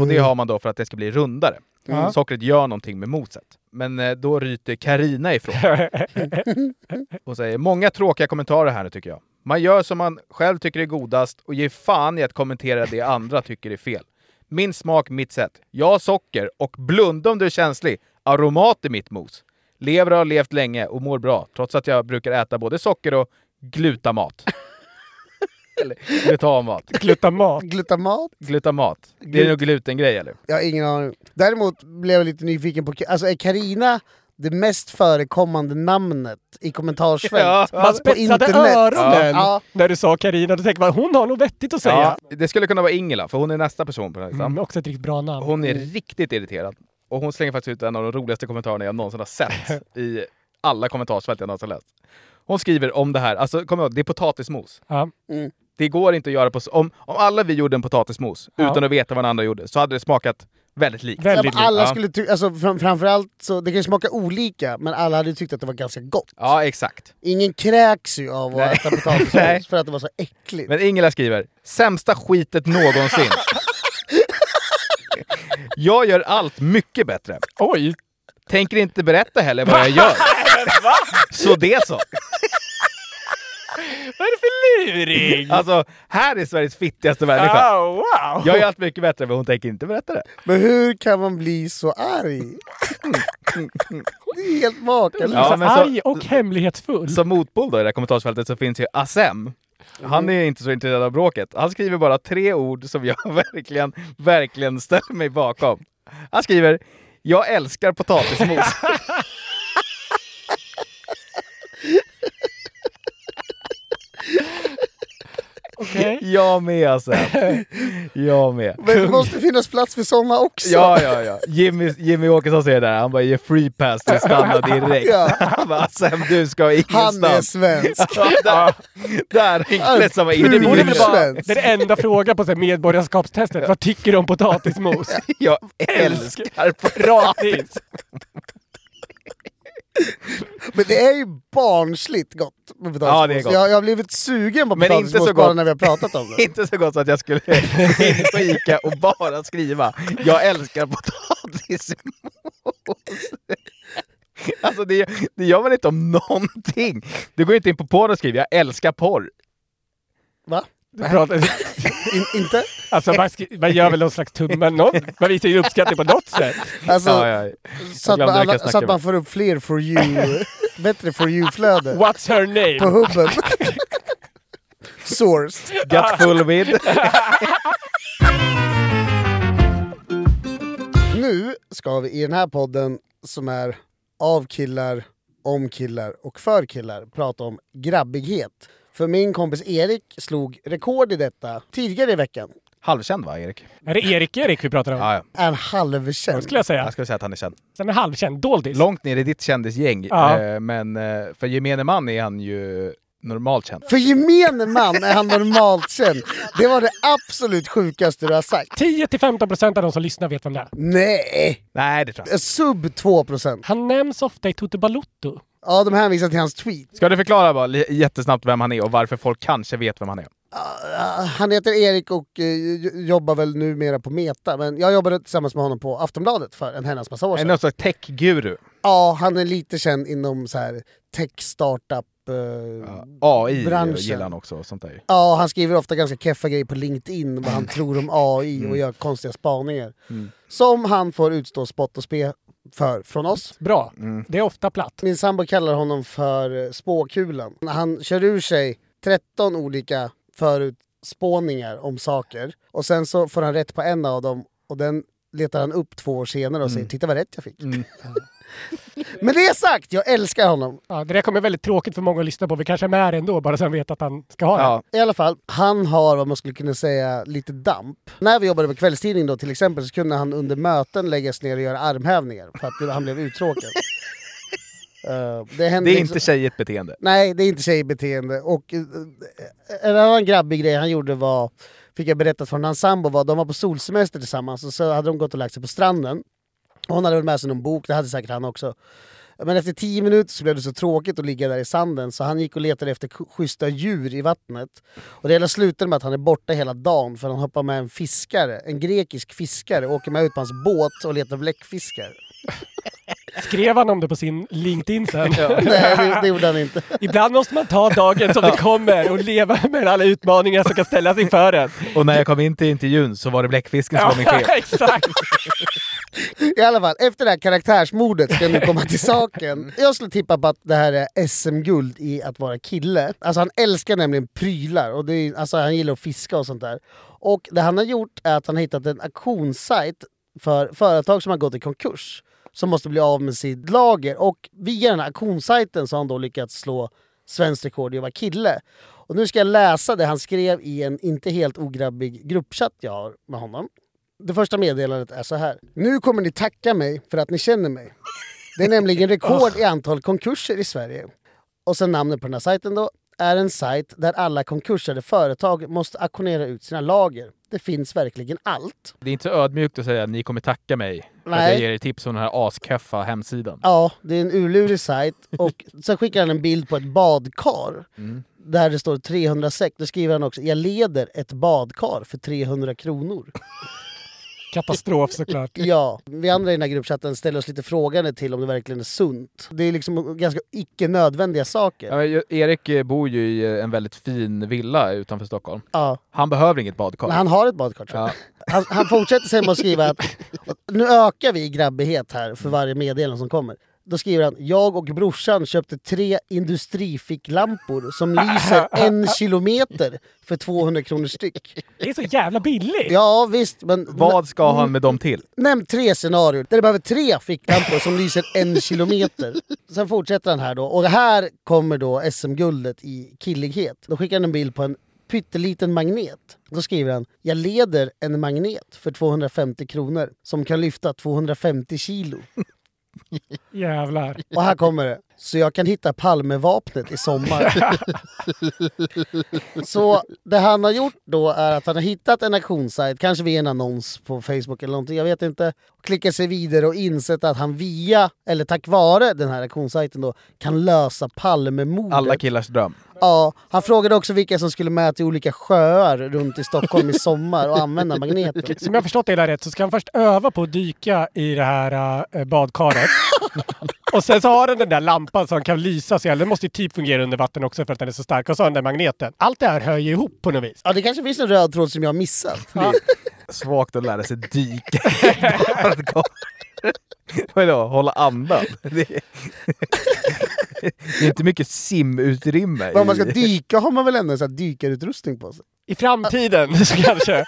Speaker 1: Och det har man då för att det ska bli rundare. Mm. Sockret gör någonting med moset. Men eh, då ryter Karina ifrån. och säger många tråkiga kommentarer här nu tycker jag. Man gör som man själv tycker är godast och ger fan i att kommentera det andra tycker är fel. Min smak, mitt sätt. Jag har socker och blunda om du är känslig. Aromat i mitt mos. Lever och har levt länge och mår bra trots att jag brukar äta både socker och glutamat. Eller glutamat.
Speaker 3: [LAUGHS] Glutamat.
Speaker 2: Glutamat?
Speaker 1: Glutamat. Det är
Speaker 2: Glut-
Speaker 1: nog glutengrej eller?
Speaker 2: Jag har ingen aning. Däremot blev jag lite nyfiken på, alltså är Karina det mest förekommande namnet i kommentarsfält
Speaker 3: Man
Speaker 2: på
Speaker 3: spetsade
Speaker 2: internet?
Speaker 3: öronen
Speaker 2: Ja.
Speaker 3: när du sa Carina. Då tänkte man hon har något vettigt att säga.
Speaker 1: Ja, det skulle kunna vara Ingela, för hon är nästa person på den här listan.
Speaker 3: Mm, också ett riktigt bra namn.
Speaker 1: Hon är
Speaker 3: Mm.
Speaker 1: riktigt irriterad. Och hon slänger faktiskt ut en av de roligaste kommentarerna jag någonsin har sett i alla kommentarsfält jag någonsin har läst. Hon skriver om det här, alltså kom ihåg, det är potatismos. Det går inte att göra på... s- Om, om alla vi gjorde en potatismos
Speaker 2: Ja.
Speaker 1: utan att veta vad den andra gjorde så hade det smakat väldigt likt.
Speaker 2: Ja, men alla skulle ty- alltså, fram- framförallt så, det kan ju smaka olika, men alla hade ju tyckt att det var ganska gott.
Speaker 1: Ja, exakt.
Speaker 2: Ingen kräks ju av
Speaker 1: [LAUGHS]
Speaker 2: att
Speaker 1: Nej.
Speaker 2: äta potatismos för att det var så äckligt.
Speaker 1: Men Ingela skriver, sämsta skitet någonsin. jag gör allt mycket bättre.
Speaker 3: Oj!
Speaker 1: Tänker inte berätta heller vad jag gör. så det så.
Speaker 3: Vad är det för luring?
Speaker 1: Alltså, här är Sveriges fittigaste människa.
Speaker 3: Ah, wow.
Speaker 1: Jag gör allt mycket bättre, men hon tänker inte berätta det.
Speaker 2: Men hur kan man bli
Speaker 1: [LAUGHS]
Speaker 2: så arg? det är helt makalöst.
Speaker 1: Ja, men så-
Speaker 3: Arg och hemlighetsfull.
Speaker 1: alltså, Som motpol då i det här kommentarsfältet så finns ju Asem. Han är inte så intresserad av bråket. Han skriver bara tre ord som jag [LAUGHS] verkligen, verkligen ställer mig bakom. Han skriver “Jag älskar
Speaker 2: [LAUGHS]
Speaker 1: potatismos”. [LAUGHS]
Speaker 3: Okej.
Speaker 1: Jag med Asem. Jag med.
Speaker 2: Men det måste finnas plats för såna också.
Speaker 1: Ja, ja, ja. Jimmy, Jimmy Åkesson säger det här. Han bara ger free pass till stanna direkt.
Speaker 2: [LAUGHS] Ja.
Speaker 1: [LAUGHS] Han bara “Asem, du ska ingenstans”.
Speaker 2: Han är svensk.
Speaker 1: [LAUGHS] Ja, där, där hängdes han in i
Speaker 3: Det borde väl vara
Speaker 2: Svensk.
Speaker 3: den enda frågan på så här medborgarskapstestet. Vad tycker du om potatismos? [LAUGHS]
Speaker 1: Jag älskar
Speaker 3: Rakt in.
Speaker 2: Men det är ju barnsligt gott med potatismos.
Speaker 1: Ja, det är gott.
Speaker 2: Jag, jag har blivit sugen på
Speaker 1: Men inte
Speaker 2: potatismos
Speaker 1: så
Speaker 2: bara
Speaker 1: gott.
Speaker 2: när vi har pratat om det.
Speaker 1: Inte så gott så att jag skulle [LAUGHS] gå in på Ica och bara skriva “Jag älskar potatismos”. [LAUGHS] Alltså det, det gör man inte om någonting. Du går inte in på porr och skriver “Jag älskar porr”.
Speaker 2: Va?
Speaker 3: Du pratar-
Speaker 2: In, inte?
Speaker 3: Alltså man, skri- man gör väl någon slags tummen. Någon, man visar ju uppskattning på något sätt.
Speaker 2: Alltså,
Speaker 1: Ja, ja, ja.
Speaker 2: Så, att man,
Speaker 1: glömde vilka
Speaker 2: alla,
Speaker 1: jag snackade
Speaker 2: så att man
Speaker 1: med.
Speaker 2: får upp fler
Speaker 1: [LAUGHS]
Speaker 2: for you, bättre for you-flöde
Speaker 3: What's her
Speaker 2: på
Speaker 3: name?
Speaker 2: hubben. Source.
Speaker 1: Got
Speaker 3: [LAUGHS]
Speaker 1: full with.
Speaker 2: Nu ska vi i den här podden som är av killar, om killar och för killar prata om grabbighet. För min kompis Erik slog rekord i detta tidigare i veckan.
Speaker 1: Halvkänd va, Erik?
Speaker 3: Är det Erik Erik vi pratar om?
Speaker 1: Ja, ja.
Speaker 2: En
Speaker 3: Det
Speaker 2: halvkänd.
Speaker 3: skulle jag säga.
Speaker 1: Jag skulle säga att han är känd.
Speaker 3: Den är halvkänd. Doldis.
Speaker 1: Långt ner i ditt kändisgäng,
Speaker 3: Ja.
Speaker 1: eh, men eh, för gemene man är han ju normalt känd.
Speaker 2: För gemene man är han normalt känd. Det var det absolut sjukaste du har sagt.
Speaker 3: 10-15 procent av de som lyssnar vet vem det är.
Speaker 2: Nej!
Speaker 1: Nej, det tror jag inte.
Speaker 2: Sub 2%.
Speaker 3: Han nämns ofta i Toto Balutto.
Speaker 2: Ja, de hänvisar till hans tweet.
Speaker 1: Ska du förklara bara li- jättesnabbt vem han är och varför folk kanske vet vem han är?
Speaker 2: Ah, Han heter Erik och eh, j- jobbar väl numera på Meta, men jag jobbade tillsammans med honom på Aftonbladet för en herrans massa år
Speaker 1: Är
Speaker 2: sedan.
Speaker 1: någon slags tech-guru?
Speaker 2: Ja, han är lite känd inom så här tech startup eh,
Speaker 1: AI
Speaker 2: Branschen.
Speaker 1: gillar han också och sånt där.
Speaker 2: Ja, han skriver ofta ganska keffa grejer på LinkedIn vad han tror om AI och gör konstiga spaningar. Som han får utstå spott och spe för från oss.
Speaker 3: Bra.
Speaker 1: Mm.
Speaker 3: Det är ofta platt.
Speaker 2: Min sambo kallar honom för eh, spåkulan. Han kör ur sig 13 olika förutspåningar om saker och sen så får han rätt på en av dem och den letar han upp två år senare och säger “titta vad rätt jag fick”. [LAUGHS] Men det sagt, jag älskar honom.
Speaker 3: Ja, det där kommer väldigt tråkigt för många att lyssna på. Vi kanske är med ändå, bara så han vet att han ska ha det.
Speaker 1: Ja.
Speaker 2: I alla fall, han har vad man skulle kunna säga lite damp. När vi jobbade på kvällstidning då till exempel så kunde han under möten läggas ner och göra armhävningar för att han
Speaker 1: [LAUGHS]
Speaker 2: blev uttråkad. Eh, det, hände
Speaker 1: Det är
Speaker 2: liksom-
Speaker 1: inte tjejigt beteende.
Speaker 2: Nej, det är inte tjejbeteende. Och eh, eh, en annan grabbig grej han gjorde var, fick jag berättat från hans sambo, var de var på solsemester tillsammans och så hade de gått och lagt sig på stranden. Och Hon hade väl med sig någon bok, det hade säkert han också. Eh, Men efter tio minuter så blev det så tråkigt att ligga där i sanden så han gick och letade efter k- schyssta djur i vattnet. Och det hela slutade med att han är borta hela dagen för han hoppar med en fiskare, en grekisk fiskare, och åker med ut på hans båt och letar bläckfiskar. [LAUGHS]
Speaker 3: Skrev han om det på sin LinkedIn sen?
Speaker 2: Nej, det- det gjorde han inte.
Speaker 3: [LAUGHS] Ibland måste man ta dagen som det kommer och leva med alla utmaningar som kan ställas inför en.
Speaker 1: Och när jag kom in till intervjun så var det bläckfisken som var min chef.
Speaker 3: [LAUGHS] exakt!
Speaker 2: I alla fall, efter det här karaktärsmordet ska jag nu komma till saken. Jag skulle tippa på att det här är SM-guld i att vara kille. Alltså han älskar nämligen prylar, och det är, alltså han gillar att fiska och sånt där. Och det han har gjort är att han har hittat en auktionssajt för företag som har gått i konkurs. Som måste bli av med sitt lager. Och via den här auktionssajten så har han då lyckats slå svenskt rekord i att vara kille. Och nu ska jag läsa det han skrev i en inte helt ograbbig gruppchatt jag har med honom. Det första meddelandet är så här. Nu kommer ni tacka mig för att ni känner mig. Det är nämligen rekord i antal konkurser i Sverige. Och sen namnet på den här sajten då är en sajt där alla konkursade företag måste auktionera ut sina lager. Det finns verkligen allt.
Speaker 1: Det är inte så ödmjukt att säga att ni kommer tacka mig för att
Speaker 2: Nej.
Speaker 1: jag ger er tips om den här askeffa hemsidan.
Speaker 2: Ja, det är en urlurig sajt. Och sen skickar han en bild på ett badkar. Där det står 300 säck. Då skriver han också jag leder ett badkar för 300 kronor.
Speaker 3: Katastrof såklart.
Speaker 2: [LAUGHS] Ja, vi andra i den här gruppchatten ställer oss lite frågande till om det verkligen är sunt. Det är liksom ganska icke nödvändiga
Speaker 1: Ja,
Speaker 2: saker.
Speaker 1: men ju- Erik eh, bor ju i eh, en väldigt fin villa utanför Stockholm.
Speaker 2: Ja.
Speaker 1: Han behöver inget badkar.
Speaker 2: Men han har ett badkar tror jag.
Speaker 1: Ja.
Speaker 2: Han, han fortsätter sen med att skriva att nu ökar vi i grabbighet här för varje meddelande som kommer. Då skriver han, jag och brorsan köpte tre industrificklampor som lyser en kilometer för 200
Speaker 1: [LAUGHS]
Speaker 2: kronor styck.
Speaker 3: Det är så jävla billigt!
Speaker 2: Ja visst, men
Speaker 1: Vad
Speaker 2: Mm.
Speaker 1: ska han med dem till?
Speaker 2: Nämn tre scenarier där du behöver tre ficklampor som lyser en kilometer. Sen fortsätter han här då. Och här kommer då SM-guldet i killighet. Då skickar han en bild på en pytteliten magnet. Då skriver han “Jag leder en magnet för 250 kronor som kan lyfta 250 kilo”.
Speaker 3: Jävlar.
Speaker 2: Och här kommer det. Så jag kan hitta Palmevapnet i sommar. Så det han har gjort då är att han har hittat en auktionssajt, kanske via en annons på Facebook eller någonting, jag vet inte. Klickar sig vidare och insett att han via, eller tack vare den här auktionssajten då, kan lösa Palmemordet.
Speaker 1: Alla killars dröm.
Speaker 2: Ja, han frågade också vilka som skulle med till olika sjöar runt i Stockholm i sommar och använda magneten.
Speaker 3: Som jag har förstått det hela rätt så ska han först öva på att dyka i det här äh, badkaret. och sen så har den den där lampan som kan lysa så jävla- Den måste ju typ fungera under vatten också för att den är så stark. Och så har den där magneten. Allt det här hör ju ihop på något vis.
Speaker 2: Ja, det kanske finns en röd tråd som jag har missat.
Speaker 1: Svagt att lära sig dyka i ett badkar. Vadå, hålla andan? Det är, det är inte mycket simutrymme.
Speaker 2: Men om man ska
Speaker 1: i-
Speaker 2: dyka har man väl ändå en sån här dykarutrustning på sig?
Speaker 3: I framtiden så kanske.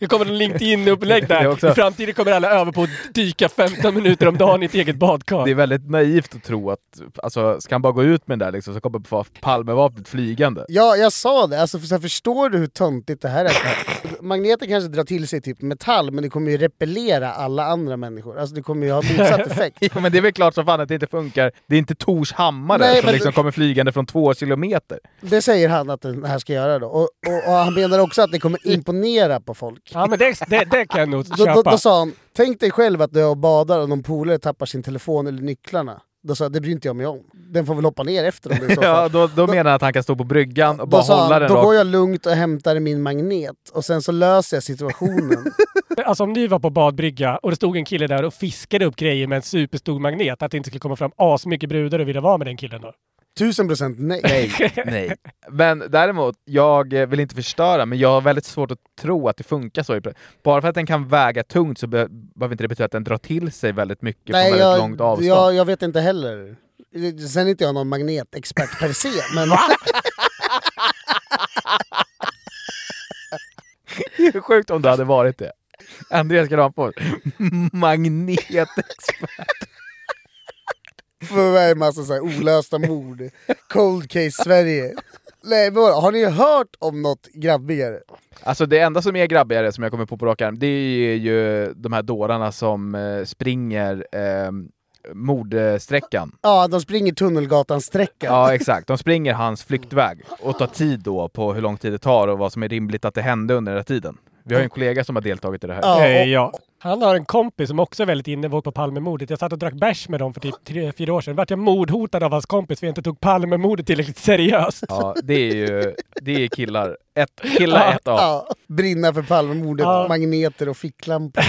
Speaker 3: Nu kommer en LinkedIn-upplägg
Speaker 1: Det är
Speaker 3: där.
Speaker 1: också-
Speaker 3: I framtiden kommer alla öva på att dyka 15 minuter om dagen i ett eget badkar.
Speaker 1: Det är väldigt naivt att tro att, alltså, ska han bara gå ut med den där liksom, så kommer Palmevapnet flygande.
Speaker 2: Ja, jag sa det. Alltså, för så här, förstår du hur töntigt det här är? Magneten kanske drar till sig typ metall, men det kommer ju repellera alla andra människor. Alltså det kommer ju ha
Speaker 1: [LAUGHS]
Speaker 2: motsatt effekt.
Speaker 1: Ja, men det är väl klart som fan att det inte funkar. Det är inte Tors hammare
Speaker 2: Nej,
Speaker 1: som
Speaker 2: men-
Speaker 1: liksom kommer flygande från två kilometer.
Speaker 2: Det säger han att den här ska göra då. Och, och, och han menar också att det kommer imponera på folk.
Speaker 3: Ja men det, det, det kan jag nog
Speaker 2: Då, då,
Speaker 3: köpa.
Speaker 2: då sa han, tänk dig själv att du är och badar och någon polare tappar sin telefon eller nycklarna. Då sa jag, det bryr inte jag mig om. Den får väl hoppa ner efter om
Speaker 1: [LAUGHS]
Speaker 2: det är så
Speaker 1: Ja,
Speaker 2: fall.
Speaker 1: då, då menar han att han kan stå på bryggan och
Speaker 2: Då
Speaker 1: bara
Speaker 2: sa
Speaker 1: hålla
Speaker 2: han,
Speaker 1: den
Speaker 2: då
Speaker 1: rakt
Speaker 2: går jag lugnt och hämtar min magnet och sen så löser jag situationen.
Speaker 1: [LAUGHS]
Speaker 3: Alltså om ni var på badbrygga och det stod en kille där och fiskade upp grejer med en superstor magnet. Att det inte skulle komma fram asmycket brudar och vilja vara med den killen då.
Speaker 2: Tusen procent nej.
Speaker 8: [LAUGHS]
Speaker 1: Nej, nej. Men däremot, jag eh, vill inte förstöra, men jag har väldigt svårt att tro att det funkar så. i pra- Bara för att den kan väga tungt så be- behöver inte det betyda att den drar till sig väldigt mycket från väldigt långt avstånd.
Speaker 2: Jag, jag vet inte heller. Sen är inte jag någon magnetexpert per se,
Speaker 1: [LAUGHS]
Speaker 2: men...
Speaker 1: Det är sjukt om det hade varit det. Andreas [LAUGHS] Granfors, magnetexpert.
Speaker 2: [LAUGHS] För mig är det massa så här olösta mord. Cold case Sverige. Nej, men vadå, har ni hört om något grabbigare?
Speaker 1: Alltså det enda som är grabbigare som jag kommer på på rak arm, det är ju de här dårarna som eh, springer eh, mordsträckan.
Speaker 2: Ja, de springer Tunnelgatan-sträckan.
Speaker 1: Ja, exakt. De springer hans flyktväg och tar tid då på hur lång tid det tar och vad som är rimligt att det hände under den här tiden. Vi har ju en kollega som har deltagit i det här.
Speaker 2: Ja,
Speaker 3: Eh,
Speaker 2: och,
Speaker 3: ja. Han har en kompis som också är väldigt inne på Palmemordet. Jag satt och drack bärs med dem för typ tre, fyra år sedan. Vart jag mordhotad av hans kompis för jag inte tog Palmemordet tillräckligt seriöst.
Speaker 1: Ja, det är ju det är killar. Ett, killar ett av.
Speaker 2: Ja, brinna för Palmemordet,
Speaker 3: Ja.
Speaker 2: magneter och ficklampor.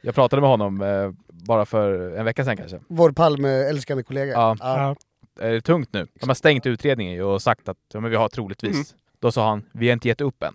Speaker 1: Jag pratade med honom eh, bara för en vecka sedan kanske.
Speaker 2: Vår Palme-älskande kollega.
Speaker 1: Ja.
Speaker 3: [LAUGHS] Ja.
Speaker 1: Är det tungt nu? De har stängt utredningen ju och sagt att ja, men vi har troligtvis.
Speaker 3: Mm.
Speaker 1: Då sa han, vi har inte gett upp än.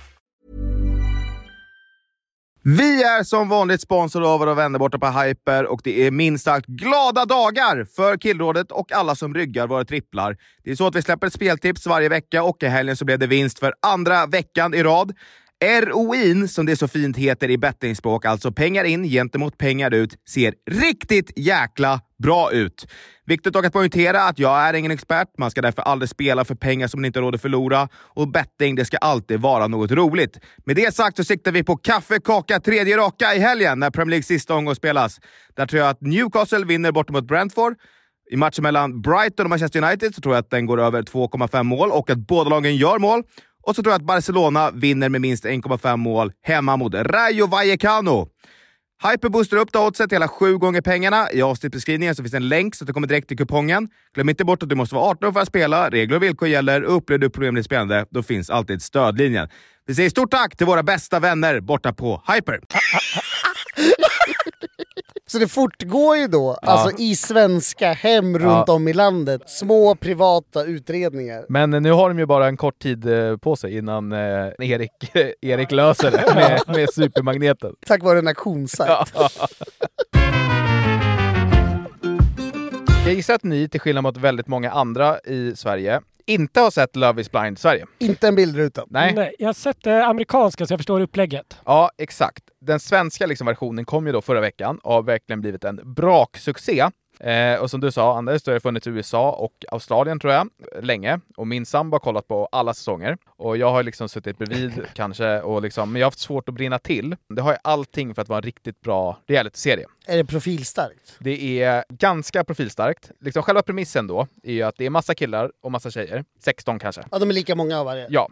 Speaker 1: Vi är som vanligt sponsrade av våra vänner borta på Hyper och det är minst sagt glada dagar för Killrådet och alla som ryggar våra tripplar. Det är så att vi släpper ett speltips varje vecka och i helgen så blev det vinst för andra veckan i rad. ROI'n, som det så fint heter i bettingspråk, alltså pengar in gentemot pengar ut, ser riktigt jäkla bra ut. Viktigt dock att poängtera att jag är ingen expert. Man ska därför aldrig spela för pengar som man inte har råd att förlora. Och betting, det ska alltid vara något roligt. Med det sagt så siktar vi på kaffe, kaka, tredje raka i helgen när Premier Leagues sista omgång spelas. Där tror jag att Newcastle vinner borta mot Brentford. I matchen mellan Brighton och Manchester United så tror jag att den går över 2,5 mål och att båda lagen gör mål. Och så tror jag att Barcelona vinner med minst 1,5 mål hemma mot Rayo Vallecano. Hyper boostar upp då oddset till hela sju gånger pengarna. I avsnittbeskrivningen så finns en länk så att du kommer direkt till kupongen. Glöm inte bort att du måste vara 18 år för att spela. Regler och villkor gäller. Upplever du problem med spelande, då finns alltid stödlinjen. Vi säger stort tack till våra bästa vänner borta på Hyper.
Speaker 2: Så det fortgår ju då,
Speaker 1: Ja.
Speaker 2: alltså i svenska hem runt om i landet, små privata utredningar.
Speaker 1: Men nu har de ju bara en kort tid eh, på sig innan Erik, [LAUGHS] Erik löser det med, med supermagneten.
Speaker 2: Tack vare en auktionssajt.
Speaker 1: Jag gissar att ni, till skillnad mot väldigt många andra i Sverige, inte har sett Love is blind Sverige.
Speaker 2: Inte en bildruta.
Speaker 1: Nej.
Speaker 3: jag har sett eh, amerikanska så jag förstår upplägget.
Speaker 1: Ja, exakt. Den svenska liksom versionen kom ju då förra veckan och har verkligen blivit en braksuccé. Eh, och som du sa, Anders, så har det funnits i USA och Australien tror jag, länge. Och min sambo har kollat på alla säsonger. Och jag har liksom suttit bredvid kanske, och liksom, men jag har haft svårt att brinna till. Det har ju allting för att vara en riktigt bra realityserie.
Speaker 2: Är det profilstarkt?
Speaker 1: Det är ganska profilstarkt. Liksom själva premissen då är ju att det är massa killar och massa tjejer. 16 kanske.
Speaker 2: Ja, de är lika många av varje.
Speaker 1: Ja.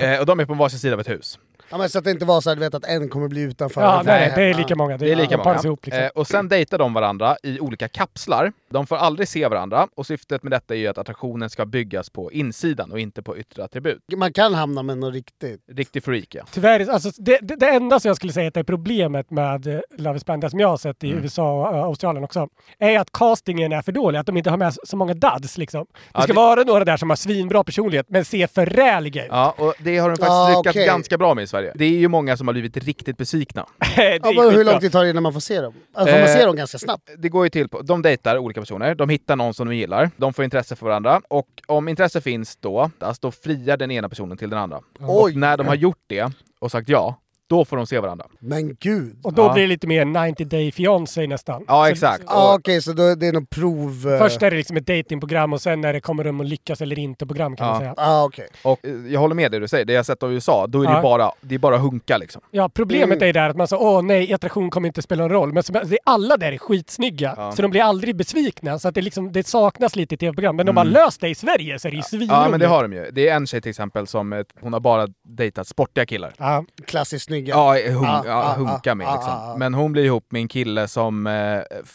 Speaker 1: Eh, och de är på varsin sida av ett hus.
Speaker 2: Ja, men så att det inte var så här, du vet att en kommer bli utanför.
Speaker 3: Ja,
Speaker 2: och en kommer
Speaker 3: nej, det är
Speaker 2: hemma.
Speaker 3: lika många.
Speaker 1: Det är lika
Speaker 3: de paras
Speaker 1: många.
Speaker 3: ihop liksom.
Speaker 1: Eh, och sen dejtar de varandra i olika kapslar. De får aldrig se varandra och syftet med detta är ju att attraktionen ska byggas på insidan och inte på yttre attribut.
Speaker 2: Man kan hamna med något riktigt.
Speaker 1: Riktig freak ja.
Speaker 3: Tyvärr, alltså, det, det, det enda som jag skulle säga att är problemet med eh, Love is blind, det som jag har sett
Speaker 1: Mm.
Speaker 3: i USA och eh, Australien också, är att castingen är för dålig. Att de inte har med så- så många dads liksom. Det
Speaker 1: Ja,
Speaker 3: ska
Speaker 1: det-
Speaker 3: vara några där som har svinbra personlighet, men ser förräliga [LAUGHS] ut.
Speaker 1: Ja, och det har de faktiskt
Speaker 3: Ah,
Speaker 1: lyckats
Speaker 3: okej.
Speaker 1: ganska bra med i Sverige. Det är ju många som har blivit riktigt besvikna.
Speaker 2: Ja, men hur lång tid tar det innan man får se dem? Alltså, får man
Speaker 1: Eh,
Speaker 2: se dem ganska snabbt?
Speaker 1: Det går ju till på, de dejtar olika personer, de hittar någon som de gillar, de får intresse för varandra och om intresse finns då, alltså då friar den ena personen till den andra. Och
Speaker 3: Oj.
Speaker 1: när de har gjort det och sagt ja, då får de se varandra.
Speaker 2: Men gud!
Speaker 3: Och då
Speaker 1: Ja.
Speaker 3: blir det lite mer 90 day fiancé nästan.
Speaker 1: Ja,
Speaker 3: Så-
Speaker 1: exakt.
Speaker 2: Ja, ah, okej, så då, det är något prov... eh,
Speaker 3: Först är det liksom ett datingprogram och sen är det kommer de att lyckas eller inte program kan man säga.
Speaker 2: Ah, okay.
Speaker 1: Och eh, jag håller med dig, du säger, det jag sett av USA, då är det
Speaker 3: Ja.
Speaker 1: ju bara, det är bara hunka liksom.
Speaker 3: Ja, problemet
Speaker 1: Mm.
Speaker 3: är ju där att man säger åh nej, attraktion kommer inte spela någon roll. Men som, det är alla där är skitsnygga,
Speaker 1: Ja.
Speaker 3: så de blir aldrig besvikna. Så att det, liksom, det saknas lite i tv-program. Men om
Speaker 1: Mm.
Speaker 3: man löst det i Sverige så är det ju svinroligt.
Speaker 1: Ja men det har de ju. Det är en tjej till exempel som, eh, hon har bara dejtat sportiga killar.
Speaker 3: Ja.
Speaker 2: Klassiskt snygga.
Speaker 1: Ja, eh, hon,
Speaker 2: Ah,
Speaker 1: ja,
Speaker 2: ah,
Speaker 1: hunka
Speaker 2: ah,
Speaker 1: med
Speaker 2: ah,
Speaker 1: liksom.
Speaker 2: ah, ah.
Speaker 1: Men hon blir ihop med en kille som eh,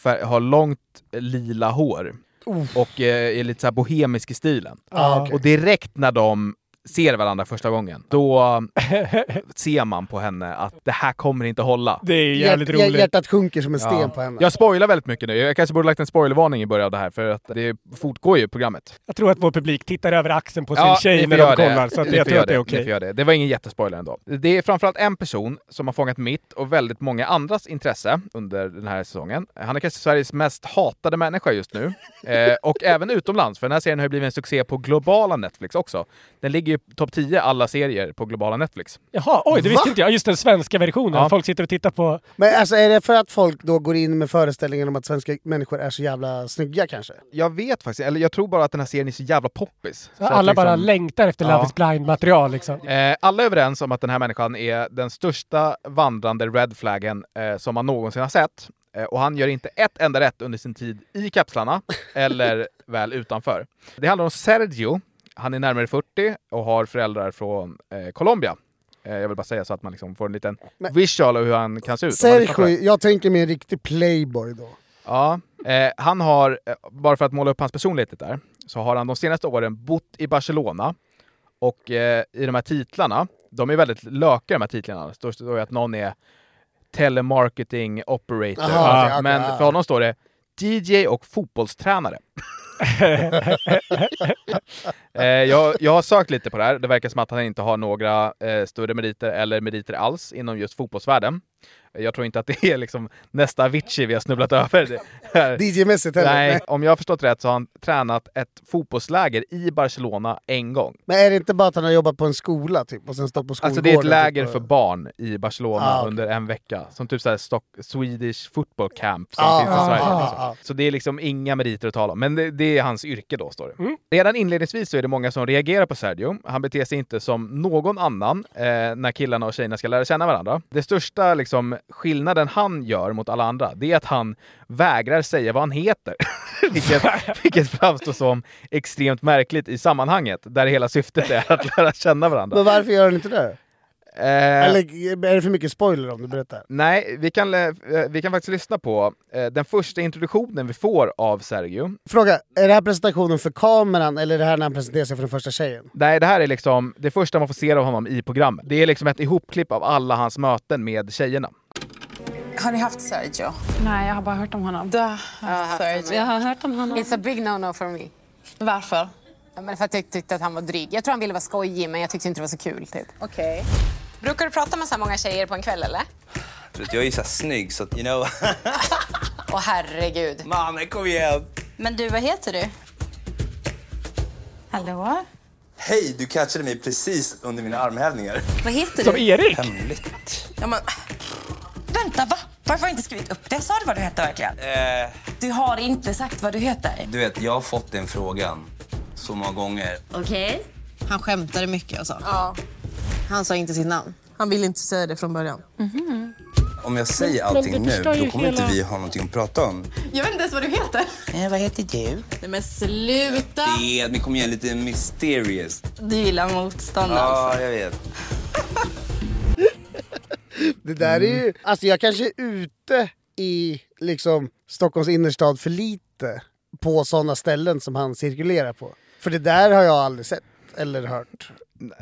Speaker 1: fär- har långt eh, lila hår.
Speaker 2: Uff.
Speaker 1: Och eh, är lite så här bohemisk i stilen.
Speaker 2: Ah, okej.
Speaker 1: Och direkt när de ser varandra första gången,
Speaker 3: [LAUGHS]
Speaker 1: då ser man på henne att det här kommer inte hålla.
Speaker 3: Det är
Speaker 2: Hjärt- Hjärtat sjunker som en sten på henne.
Speaker 1: Jag spoilar väldigt mycket nu. Jag kanske borde lagt en spoilervarning i början av det här, för att det fortgår ju programmet.
Speaker 3: Jag tror att vår publik tittar över axeln på sin
Speaker 1: Ja, ni
Speaker 3: tjej
Speaker 1: får
Speaker 3: när de
Speaker 1: göra det.
Speaker 3: kollar, så att
Speaker 1: Ni
Speaker 3: jag
Speaker 1: får
Speaker 3: tror
Speaker 1: göra
Speaker 3: att det är
Speaker 1: Ni
Speaker 3: okej.
Speaker 1: får göra det. det var ingen jättespoiler ändå. Det är framförallt en person som har fångat mitt och väldigt många andras intresse under den här säsongen. Han är kanske Sveriges mest hatade människa just
Speaker 3: [LAUGHS]
Speaker 1: nu. eh, och även utomlands, för den här serien har ju blivit en succé på globala Netflix också. Den ligger ju topp 10 alla serier på globala Netflix.
Speaker 3: Jaha, oj, det visste
Speaker 1: Va?
Speaker 3: inte jag. Just den svenska versionen.
Speaker 1: Ja.
Speaker 3: Folk sitter och tittar på...
Speaker 2: Men alltså är det för att folk då går in med föreställningen om att svenska människor är så jävla snygga kanske?
Speaker 1: Jag vet faktiskt, eller jag tror bara att den här serien är så jävla poppis. Så
Speaker 3: Alla
Speaker 1: att
Speaker 3: bara
Speaker 1: liksom-
Speaker 3: längtar efter
Speaker 1: Ja.
Speaker 3: Love is blind-material liksom.
Speaker 1: Eh, alla är överens om att den här människan är den största vandrande red flaggen eh, som man någonsin har sett. Eh, och han gör inte ett enda rätt under sin tid i kapslarna eller väl utanför. Det handlar om Sergio. Han är närmare 40 och har föräldrar från eh, Colombia. Eh, jag vill bara säga så att man liksom får en liten visual av hur han kan se ut. om man lyssnar på det här.
Speaker 2: Sergio, jag tänker mig en riktig playboy då.
Speaker 1: Ja, eh, han har, eh, bara för att måla upp hans personlighet lite där, så har han de senaste åren bott i Barcelona. Och eh, i de här titlarna, de är väldigt löka de här titlarna. Det står- står ju att någon är telemarketing operator.
Speaker 2: Aha, okej, okej,
Speaker 1: men
Speaker 2: ja.
Speaker 1: för honom står det DJ och fotbollstränare. eh, jag, jag har sökt lite på det här. Det verkar som att han inte har några eh, större meriter eller meriter alls inom just fotbollsvärlden. Jag tror inte att det är liksom nästa Avicii vi har snubblat över. Det här.
Speaker 2: DJ-mässigt heller.
Speaker 1: Nej,
Speaker 2: Nej.
Speaker 1: om jag har förstått rätt så har han tränat ett fotbollsläger i Barcelona en gång.
Speaker 2: Men är det inte bara att han har jobbat på en skola typ och sen stått på skolgården?
Speaker 1: Alltså det är ett läger
Speaker 2: typ, och-
Speaker 1: för barn i Barcelona
Speaker 2: Ah, okej.
Speaker 1: under en vecka. Som typ såhär Stock Swedish football camp som
Speaker 2: Ah,
Speaker 1: finns i
Speaker 2: ah,
Speaker 1: Sverige.
Speaker 2: ah,
Speaker 1: liksom.
Speaker 2: ah.
Speaker 1: Så det är liksom inga meriter att tala om. Men det, det är hans yrke då, står det.
Speaker 2: Mm.
Speaker 1: Redan inledningsvis så är det många som reagerar på Sergio. Han beter sig inte som någon annan eh, när killarna och tjejerna ska lära känna varandra. Det största liksom, skillnaden han gör mot alla andra, det är att han vägrar säga vad han heter. [LAUGHS] vilket,
Speaker 2: [LAUGHS]
Speaker 1: vilket framstår som extremt märkligt i sammanhanget, där hela syftet är att lära känna varandra.
Speaker 2: Men varför gör han inte det?
Speaker 1: Eh,
Speaker 2: Eller är det för mycket spoiler om du berättar?
Speaker 1: Nej, vi kan, eh, vi kan faktiskt lyssna på eh, den första introduktionen vi får av Sergio.
Speaker 2: Fråga, är det här presentationen för kameran eller är det här när han presenterar sig för den första tjejen?
Speaker 1: Nej, det här är liksom det första man får se av honom i programmet. Det är liksom ett ihopklipp av alla hans möten med tjejerna.
Speaker 9: Har ni haft Sergio? Nej, jag har bara hört om honom. Du har haft Sergio.
Speaker 10: Jag har
Speaker 9: hört om honom. It's a big no-no for me. Varför? Ja, men för att jag tyckte att han var dryg. Jag tror han ville vara skojig, men jag tyckte inte det var så kul. Typ. Okej. Brukar du prata med så här många tjejer på en kväll, eller?
Speaker 11: Jag är ju så här snygg så att, you know.
Speaker 9: [LAUGHS] Åh, herregud.
Speaker 11: Mamma kom igen.
Speaker 9: Men du, vad heter du? Hallå?
Speaker 11: Hej, du catchade mig precis under mina armhävningar.
Speaker 9: Vad heter
Speaker 11: Som
Speaker 9: du?
Speaker 11: Erik. Hemligt.
Speaker 9: Ja, men... Vänta, va? Varför har jag inte skrivit upp det? Sa du vad du heter verkligen?
Speaker 11: Eh,
Speaker 9: Du har inte sagt vad du heter.
Speaker 11: du vet, jag har fått den frågan så många gånger.
Speaker 9: Okej. Han skämtade mycket alltså. Ja. Han sa inte sitt namn. Han ville inte säga det från början.
Speaker 11: Om jag säger
Speaker 9: Men- men
Speaker 11: allting
Speaker 9: du
Speaker 11: nu,
Speaker 9: förstör ju
Speaker 11: då kommer
Speaker 9: hela-
Speaker 11: inte vi ha någonting att prata om.
Speaker 9: Jag vet inte ens vad du heter.
Speaker 11: Eh, vad heter du?
Speaker 9: Nej men sluta!
Speaker 11: Det, men kom igen, lite mysterious.
Speaker 9: Du gillar motstånd
Speaker 11: Ja, jag vet.
Speaker 2: Det där är ju... Alltså jag kanske är ute i liksom Stockholms innerstad för lite på sådana ställen som han cirkulerar på. För det där har jag aldrig sett eller hört.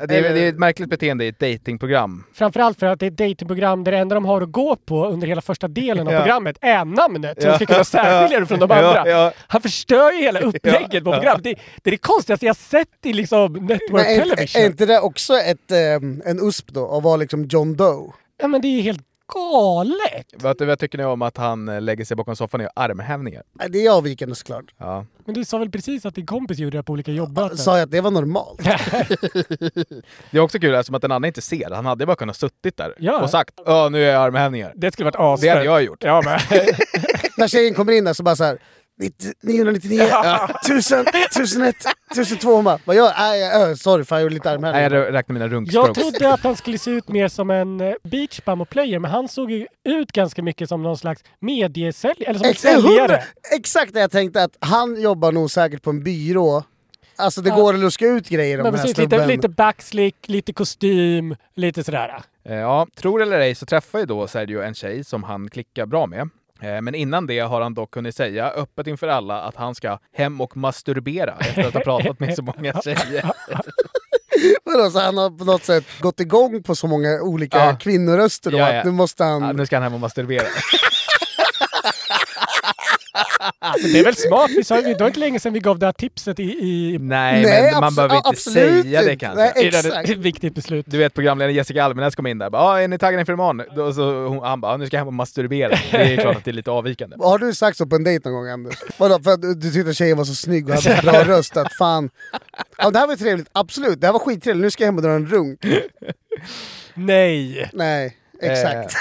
Speaker 1: Det är, det är ett märkligt beteende i ett datingprogram.
Speaker 3: Framförallt för att det är ett datingprogram där det enda de har att gå på under hela första delen av
Speaker 1: Ja.
Speaker 3: programmet är namnet. Så
Speaker 1: Ja.
Speaker 3: de ska kunna särskilja det från de
Speaker 1: Ja,
Speaker 3: andra.
Speaker 1: ja.
Speaker 3: Han förstör ju hela upplägget på
Speaker 1: Ja.
Speaker 3: programmet. Det, det är det konstigaste jag sett i liksom network
Speaker 2: Men är,
Speaker 3: television.
Speaker 2: är inte det också ett, ehm, en USP då, att vara liksom John Doe?
Speaker 3: Ja men det är helt galet!
Speaker 1: Vad, vad tycker ni om att han eh, lägger sig bakom soffan och gör armhävningar?
Speaker 2: Nej, Det är avvikande såklart.
Speaker 1: Ja.
Speaker 3: Men du sa väl precis att din kompis gjorde det på olika jobbmöten?
Speaker 2: Sa jag att det var normalt?
Speaker 1: Det är också kul eftersom att den andra inte ser. Han hade bara kunnat suttit där
Speaker 2: Ja.
Speaker 1: och sagt ja nu är jag armhävningar.
Speaker 3: Det skulle varit
Speaker 1: Det hade
Speaker 3: asfett.
Speaker 1: jag gjort. [LAUGHS]
Speaker 3: Ja, men.
Speaker 2: När tjejen kommer in där så bara så här 90 999,
Speaker 1: Ja.
Speaker 2: 1000, 1001, 1002. Hon bara, vad gör jag? Äh, äh, sorry, fan jag gjorde lite armhävningar.
Speaker 1: Nej, jag räknar mina
Speaker 3: Jag
Speaker 1: runkstrokes.
Speaker 3: trodde att han skulle se ut mer som en eh, beach bum player men han såg ju ut ganska mycket som någon slags mediesäljare. Eller som en
Speaker 2: Ex- hundra-
Speaker 3: säljare.
Speaker 2: Exakt det jag tänkte att han jobbar nog säkert på en byrå. Alltså det går att luska ut grejer om
Speaker 3: Men
Speaker 2: den här
Speaker 3: precis,
Speaker 2: snubben.
Speaker 3: lite, lite backslick, lite kostym, lite sådär.
Speaker 1: Eh, Ja, tror eller ej så träffar ju då Sergio en tjej som han klickar bra med. Eh, Men innan det har han dock hunnit säga öppet inför alla att [LAUGHS] han ska hem och masturbera efter att ha pratat med så många tjejer.
Speaker 2: [LAUGHS] Vadå, så han har på något sätt gått igång på så många olika
Speaker 1: Ja.
Speaker 2: kvinnoröster då,
Speaker 1: Ja, ja.
Speaker 2: att nu måste han...
Speaker 1: Ja, nu ska han hem och masturbera.
Speaker 3: Det är väl smart? Vi sa, ju- det var inte länge sedan vi gav det här tipset i... i...
Speaker 1: Nej, men man behöver inte säga det kanske.
Speaker 3: [LAUGHS] viktigt beslut.
Speaker 1: Du vet programledaren Jessica Almenäs kom in där och bara, "Ah, är ni taggade inför imorgon? Då, så hon, han bara, "Ah, nu ska jag hem och masturbera. Det är klart att det är lite avvikande.
Speaker 2: Har du sagt så på en dejt någon gång Anders? Vadå, för att du du tyckte att tjejen var så snygg och hade
Speaker 1: [LAUGHS]
Speaker 2: så bra röst att fan... Ja, det här var trevligt, absolut. Det här var skittrevligt, nu ska jag hem och dra en runk.
Speaker 1: Nej!
Speaker 2: Nej, exakt.
Speaker 1: Eh,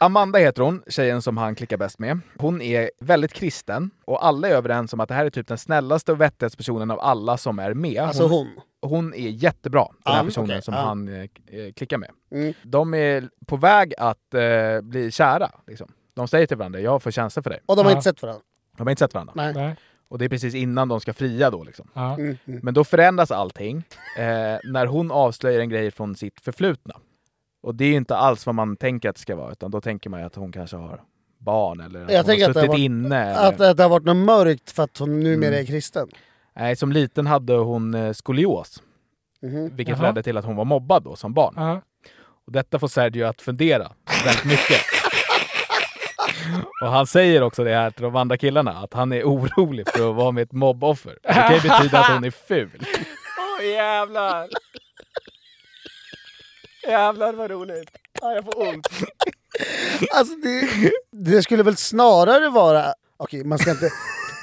Speaker 1: Amanda heter hon, tjejen som han klickar bäst med. Hon är väldigt kristen och alla är överens om att det här är typ den snällaste och vettigaste personen av alla som är med.
Speaker 2: Alltså hon.
Speaker 1: Hon är jättebra, den här
Speaker 2: Ah,
Speaker 1: personen
Speaker 2: okej,
Speaker 1: som
Speaker 2: ah.
Speaker 1: han eh, eh, klickar med.
Speaker 2: Mm.
Speaker 1: De är på väg att eh, bli kära. Liksom. De säger till varandra, jag får känslor för dig.
Speaker 2: Och de har inte sett varandra.
Speaker 1: De har inte sett varandra.
Speaker 2: Nej. Nej.
Speaker 1: Och det är precis innan de ska fria då. Liksom.
Speaker 2: Mm, mm.
Speaker 1: Men då förändras allting eh, när hon avslöjar en grej från sitt förflutna. Och det är ju inte alls vad man tänker att det ska vara, utan då tänker man ju att hon kanske har barn eller att
Speaker 2: Jag
Speaker 1: hon
Speaker 2: tänker
Speaker 1: har
Speaker 2: att det,
Speaker 1: suttit
Speaker 2: har varit,
Speaker 1: inne. eller-
Speaker 2: att, att det har varit något mörkt för att hon numera
Speaker 1: Mm.
Speaker 2: är kristen.
Speaker 1: Nej, som liten hade hon eh, skolios,
Speaker 2: Mhm.
Speaker 1: vilket
Speaker 2: Jaha.
Speaker 1: ledde till att hon var mobbad då som barn. Och detta får Sergio att fundera väldigt mycket. Och han säger också det här till de andra killarna, att han är orolig för att vara med ett mobboffer. Det kan ju betyda att hon är ful.
Speaker 3: Åh jävlar! Jävlar vad roligt. Ah, jag får ont.
Speaker 2: Alltså det, det skulle väl snarare vara... Okej, man ska inte...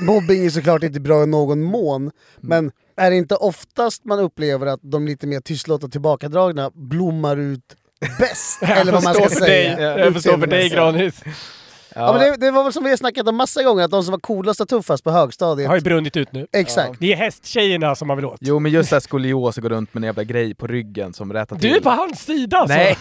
Speaker 2: Mobbing är såklart inte bra i någon mån, men är det inte oftast man upplever att de lite mer tystlåtna och tillbakadragna blommar ut
Speaker 3: [LAUGHS]
Speaker 2: bäst? eller vad man ska säga. Utseendemässigt. Ja. men det, det var väl som vi har snackat om massa gånger, att de som var coolast och tuffast på högstadiet...
Speaker 3: har ju brunnit ut nu.
Speaker 2: Exakt.
Speaker 3: Det är hästtjejerna som man vill åt.
Speaker 1: Jo, men just såhär skolios och gå runt med en jävla grej på ryggen som rätar till.
Speaker 3: Du är på hans sida alltså! [LAUGHS]
Speaker 1: Nej.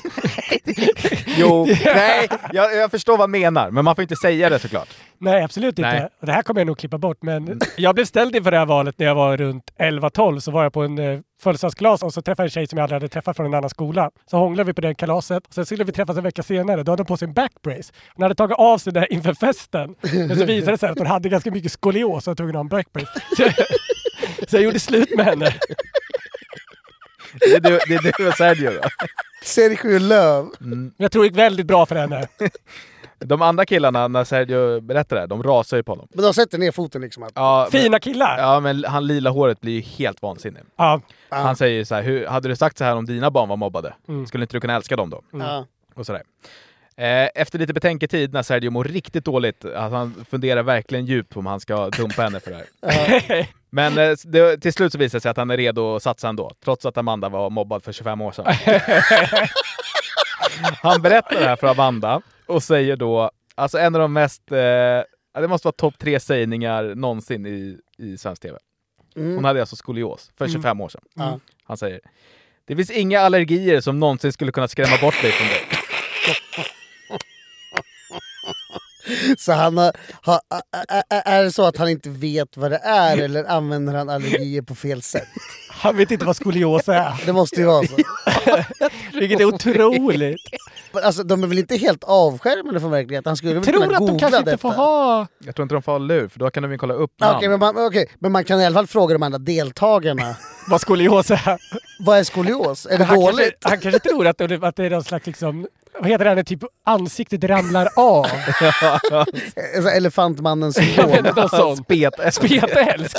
Speaker 1: Jo, nej, jag, jag förstår vad han menar, men man får inte säga det såklart.
Speaker 3: Nej, absolut inte.
Speaker 1: Nej. Mm.
Speaker 3: Och det här kommer jag nog klippa bort, men [CLEARS THROAT] jag blev ställd inför det här valet när jag var runt 11-12. Så var jag på en eh, födelsedagskalas och så träffade jag en tjej som jag aldrig hade träffat från en annan skola. Så hånglade vi på det kalaset. Sen skulle vi träffas en vecka senare. Då hade hon på sig en backbrace. Hon hade tagit av sig det här inför festen. Men så visade det sig att hon hade ganska mycket skolios och var tvungen att ha
Speaker 1: [LAUGHS]
Speaker 3: en backbrace. Så jag, så jag gjorde slut med henne.
Speaker 1: Det är du, det är du och Sergio då.
Speaker 2: Sergio Löv.
Speaker 1: Mm.
Speaker 3: Jag tror det gick väldigt bra för henne.
Speaker 1: De andra killarna, när Sergio berättar det här, de rasar ju på honom.
Speaker 2: Men de sätter ner foten liksom. Att,
Speaker 1: Ja, men-
Speaker 3: Fina killar!
Speaker 1: Ja, men han lila håret blir ju helt vansinnig.
Speaker 3: Ja.
Speaker 1: Han säger ju så här, hur, hade du sagt så här om dina barn var mobbade?
Speaker 3: Mm.
Speaker 1: Skulle inte du kunna älska dem då?
Speaker 3: Mm.
Speaker 2: Ja.
Speaker 1: Och sådär. Eh, Efter lite betänketid när Sergio mår riktigt dåligt, att han funderar verkligen djupt om han ska dumpa henne för det här. [LAUGHS] Men eh, det, till slut så visar det sig att han är redo att satsa ändå, trots att Amanda var mobbad för 25
Speaker 2: [LAUGHS]
Speaker 1: år sedan. han berättar det här för Amanda och säger då, alltså en av de mest, eh, ja, det måste vara topp tre sägningar någonsin i, i svensk TV.
Speaker 2: Mm.
Speaker 1: Hon hade alltså skolios för 25 år sedan.
Speaker 2: Ja.
Speaker 1: Han säger, det finns inga allergier som någonsin skulle kunna skrämma bort dig från dig.
Speaker 2: Så han har, har, ä- ä- ä- är det så att han inte vet vad det är
Speaker 3: [LAUGHS]
Speaker 2: eller använder han allergier på fel sätt?
Speaker 3: Han vet inte vad skolios är.
Speaker 2: Det måste ju vara
Speaker 3: [LAUGHS]
Speaker 2: så.
Speaker 3: Vilket är otroligt.
Speaker 2: Men Alltså, de är väl inte helt avskärmade från verkligheten? Han skulle väl
Speaker 3: Tror
Speaker 2: kunna
Speaker 3: att de
Speaker 2: googla
Speaker 3: kanske inte
Speaker 2: detta? Ah,
Speaker 3: får ha...
Speaker 1: Jag tror inte de får ha lur, för då kan de ju kolla upp
Speaker 2: Okej,
Speaker 1: namn.
Speaker 2: men, man- okej, men man kan i alla fall fråga de andra
Speaker 3: [LAUGHS]
Speaker 2: deltagarna.
Speaker 3: vad skolios är?
Speaker 2: Vad är skolios?
Speaker 3: [LAUGHS]
Speaker 2: Är det
Speaker 3: han
Speaker 2: dåligt?
Speaker 3: Kanske, han kanske tror att det, att det är någon slags liksom... Vad heter det? här när Typ ansiktet ramlar
Speaker 2: [LAUGHS]
Speaker 3: av.
Speaker 2: Alltså,
Speaker 3: [LAUGHS]
Speaker 2: Elefantmannens syndrom?
Speaker 3: vet inte, något sånt.
Speaker 1: Spetälsk.
Speaker 3: Spetälsk.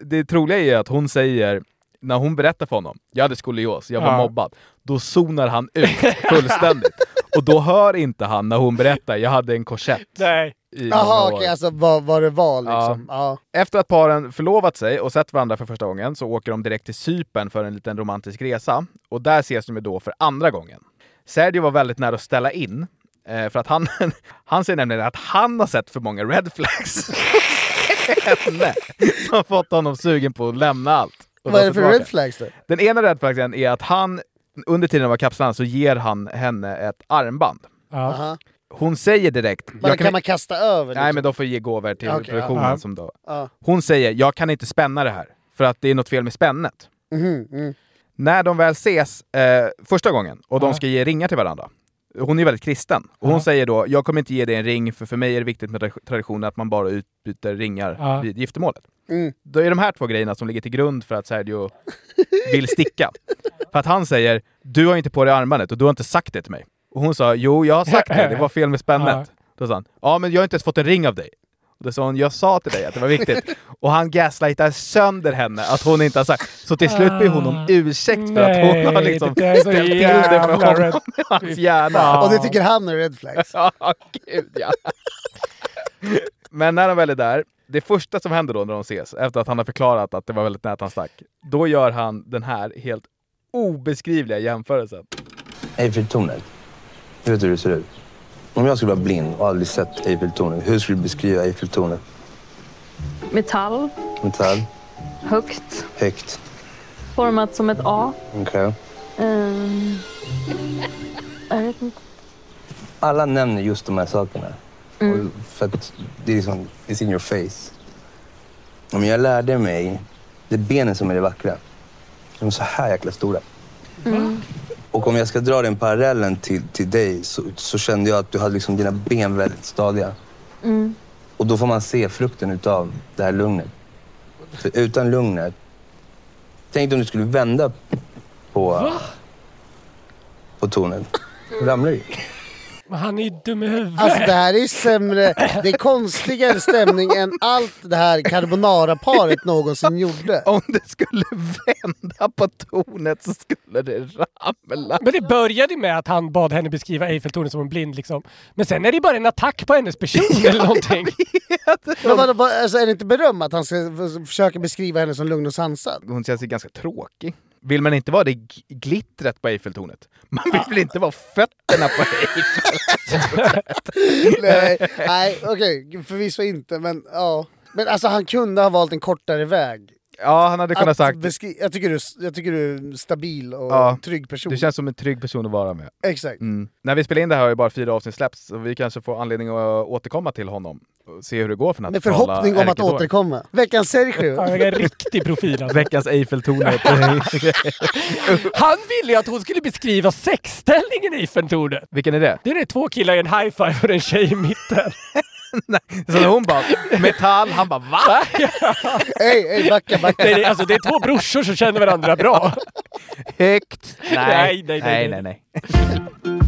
Speaker 1: Det troliga är att hon säger, när hon berättar för honom, jag hade skolios, jag var
Speaker 3: Ja.
Speaker 1: mobbad. Då zonar han ut
Speaker 2: [LAUGHS]
Speaker 1: fullständigt. Och då hör inte han när hon berättar, jag hade en korsett.
Speaker 3: Nej.
Speaker 1: I
Speaker 2: Jaha,
Speaker 1: många
Speaker 2: okej,
Speaker 1: år.
Speaker 2: alltså vad, vad det var liksom. Ja.
Speaker 1: Efter att paren förlovat sig och sett varandra för första gången så åker de direkt till Cypern för en liten romantisk resa. Och där ses de ju då för andra gången. Sergio var väldigt nära att ställa in. eh, För att han, [LAUGHS] han säger nämligen att han har sett för många red flags. [LAUGHS] Henne. Som har fått honom sugen på att lämna allt. och
Speaker 2: Vad
Speaker 1: dra
Speaker 2: är
Speaker 1: sig
Speaker 2: det för
Speaker 1: tillbaka.
Speaker 2: red flags då?
Speaker 1: Den ena red flaggen är att han, under tiden han var kapslan, så ger han henne ett armband.
Speaker 2: Aha.
Speaker 1: Hon säger direkt...
Speaker 2: Men
Speaker 1: "Jag
Speaker 2: kan man kasta över?
Speaker 1: Nej, men de får ge gåvor till
Speaker 2: Ja, okej,
Speaker 1: produktionen.
Speaker 2: liksom- ja.
Speaker 1: Som då.
Speaker 2: Ja.
Speaker 1: Hon säger “Jag kan inte spänna det här, för att det är något fel med spännet”.
Speaker 2: Mhm, mm.
Speaker 1: När de väl ses eh, första gången och de ska ge ringar till varandra, hon är väldigt kristen, och hon säger då “Jag kommer inte ge dig en ring, för för mig är det viktigt med tra- traditionen att man bara utbyter ringar
Speaker 3: Ja.
Speaker 1: vid giftermålet”.
Speaker 2: Mm.
Speaker 1: Då är de här två grejerna som ligger till grund för att Sergio vill
Speaker 2: [LAUGHS]
Speaker 1: sticka. för att han säger “Du har inte på dig armbandet och du har inte sagt det till mig”. Och hon sa “Jo, jag har sagt det, det var fel med spännet”. Då sa han “Ja, men jag har inte ens fått en ring av dig”. Och då sa hon “Jag sa till dig att det var
Speaker 3: [LAUGHS]
Speaker 1: viktigt”. och han gaslightar sönder henne att hon inte har sagt. Så till slut ber hon om ursäkt för att hon har
Speaker 3: Ah. Nej,
Speaker 1: liksom
Speaker 3: det där är så
Speaker 1: ställt till det för
Speaker 3: jävla
Speaker 1: honom
Speaker 3: red-
Speaker 1: [LAUGHS] i hans hjärna.
Speaker 2: Och det tycker han är red flags.
Speaker 1: Ja, gud ja. Men när de väl är där, det första som händer då när de ses, efter att han har förklarat att det var väldigt nära att han stack, då gör han den här helt obeskrivliga jämförelsen.
Speaker 11: Eiffeltornet. Du vet hur det ser ut. Om jag skulle vara blind och aldrig sett Eiffeltornet, hur skulle du beskriva Eiffeltornet?
Speaker 10: Metall,
Speaker 11: Metall,
Speaker 10: högt,
Speaker 11: högt,
Speaker 10: format som ett A.
Speaker 11: okej.
Speaker 10: Ehm, jag vet inte.
Speaker 11: Alla nämner just de här sakerna.
Speaker 10: Mm.
Speaker 11: Och för att det är liksom, it's in your face. Om jag lärde mig, det är benen som är det vackra. De är så här jäkla stora.
Speaker 10: Mm.
Speaker 11: Och om jag ska dra den parallellen till, till dig så, så kände jag att du hade liksom dina ben väldigt stadiga.
Speaker 10: Mm.
Speaker 11: Och då får man se frukten utav det här lugnet. För utan lugnet... Tänk om du skulle vända på, på tornet. Då ramlar du
Speaker 3: Men han är ju dum i huvudet.
Speaker 2: Alltså det här är ju sämre, det är konstigare stämning än allt det här carbonara-paret någonsin gjorde.
Speaker 1: Om det skulle [LAUGHS] vända på tornet så skulle det ramla.
Speaker 3: Men det började med att han bad henne beskriva Eiffeltornet som en blind liksom. Men sen är det bara en attack på
Speaker 2: [LAUGHS]
Speaker 3: hennes person eller någonting.
Speaker 2: Men vadå, vad- alltså, är det inte beröm att han ska f- försöka beskriva henne som lugn och sansad? [LAUGHS]
Speaker 1: Hon känns ju ganska tråkig. Vill man inte vara det g- glittret på Eiffeltornet? Man vill väl inte vara fötterna på Eiffeltornet?
Speaker 2: Nej, nej okej, förvisso inte, men ja. Men alltså han kunde ha valt en kortare väg.
Speaker 1: Ja, han hade kunnat
Speaker 2: Att
Speaker 1: sagt...
Speaker 2: beskri- jag, tycker du, jag tycker du är en stabil och
Speaker 1: Ja,
Speaker 2: trygg person.
Speaker 1: Du känns som en trygg person att vara med.
Speaker 2: Exakt.
Speaker 1: Mm. När vi spelar in det här har ju bara fyra avsnitt släppts, så vi kanske får anledning att återkomma till honom och se hur det går för den här
Speaker 2: Med
Speaker 1: totala
Speaker 2: förhoppning om att
Speaker 1: ärkesorgen.
Speaker 2: återkomma. Veckans Sergio.
Speaker 3: Han är en riktig profil alltså.
Speaker 1: Veckans Eiffeltornet. [LAUGHS]
Speaker 3: Han ville ju att hon skulle beskriva sexställningen i Eiffeltornet.
Speaker 1: Vilken är det?
Speaker 3: Det är det två killar i en high-five och en tjej i mitten.
Speaker 1: så hon bara metall, han bara [LAUGHS] va?
Speaker 2: Hej, hej, backa, backa.
Speaker 3: Nej, det, alltså, det är två brorsor som känner varandra bra.
Speaker 1: Högt. Nej,
Speaker 3: Nej, nej, nej,
Speaker 1: nej,
Speaker 3: nej.
Speaker 1: nej, nej.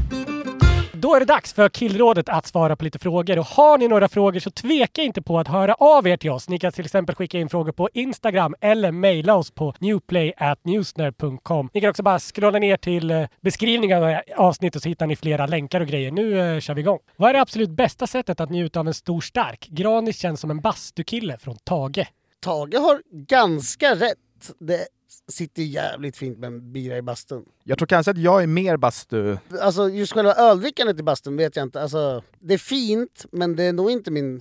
Speaker 3: Då är det dags för killrådet att svara på lite frågor och har ni några frågor så tveka inte på att höra av er till oss. Ni kan till exempel skicka in frågor på Instagram eller mejla oss på newplay@newsner.com. Ni kan också bara scrolla ner till eh, beskrivningen av avsnittet så hittar ni flera länkar och grejer. Nu eh, kör vi igång. Vad är det absolut bästa sättet att njuta av en stor stark? Granis känns som en bastukille från Tage.
Speaker 2: Tage har ganska rätt. Det sitter jävligt fint med en bira i bastun.
Speaker 1: Jag tror kanske att jag är mer bastu...
Speaker 2: Alltså just själva öldrickandet i bastun vet jag inte. Alltså, det är fint, men det är nog inte min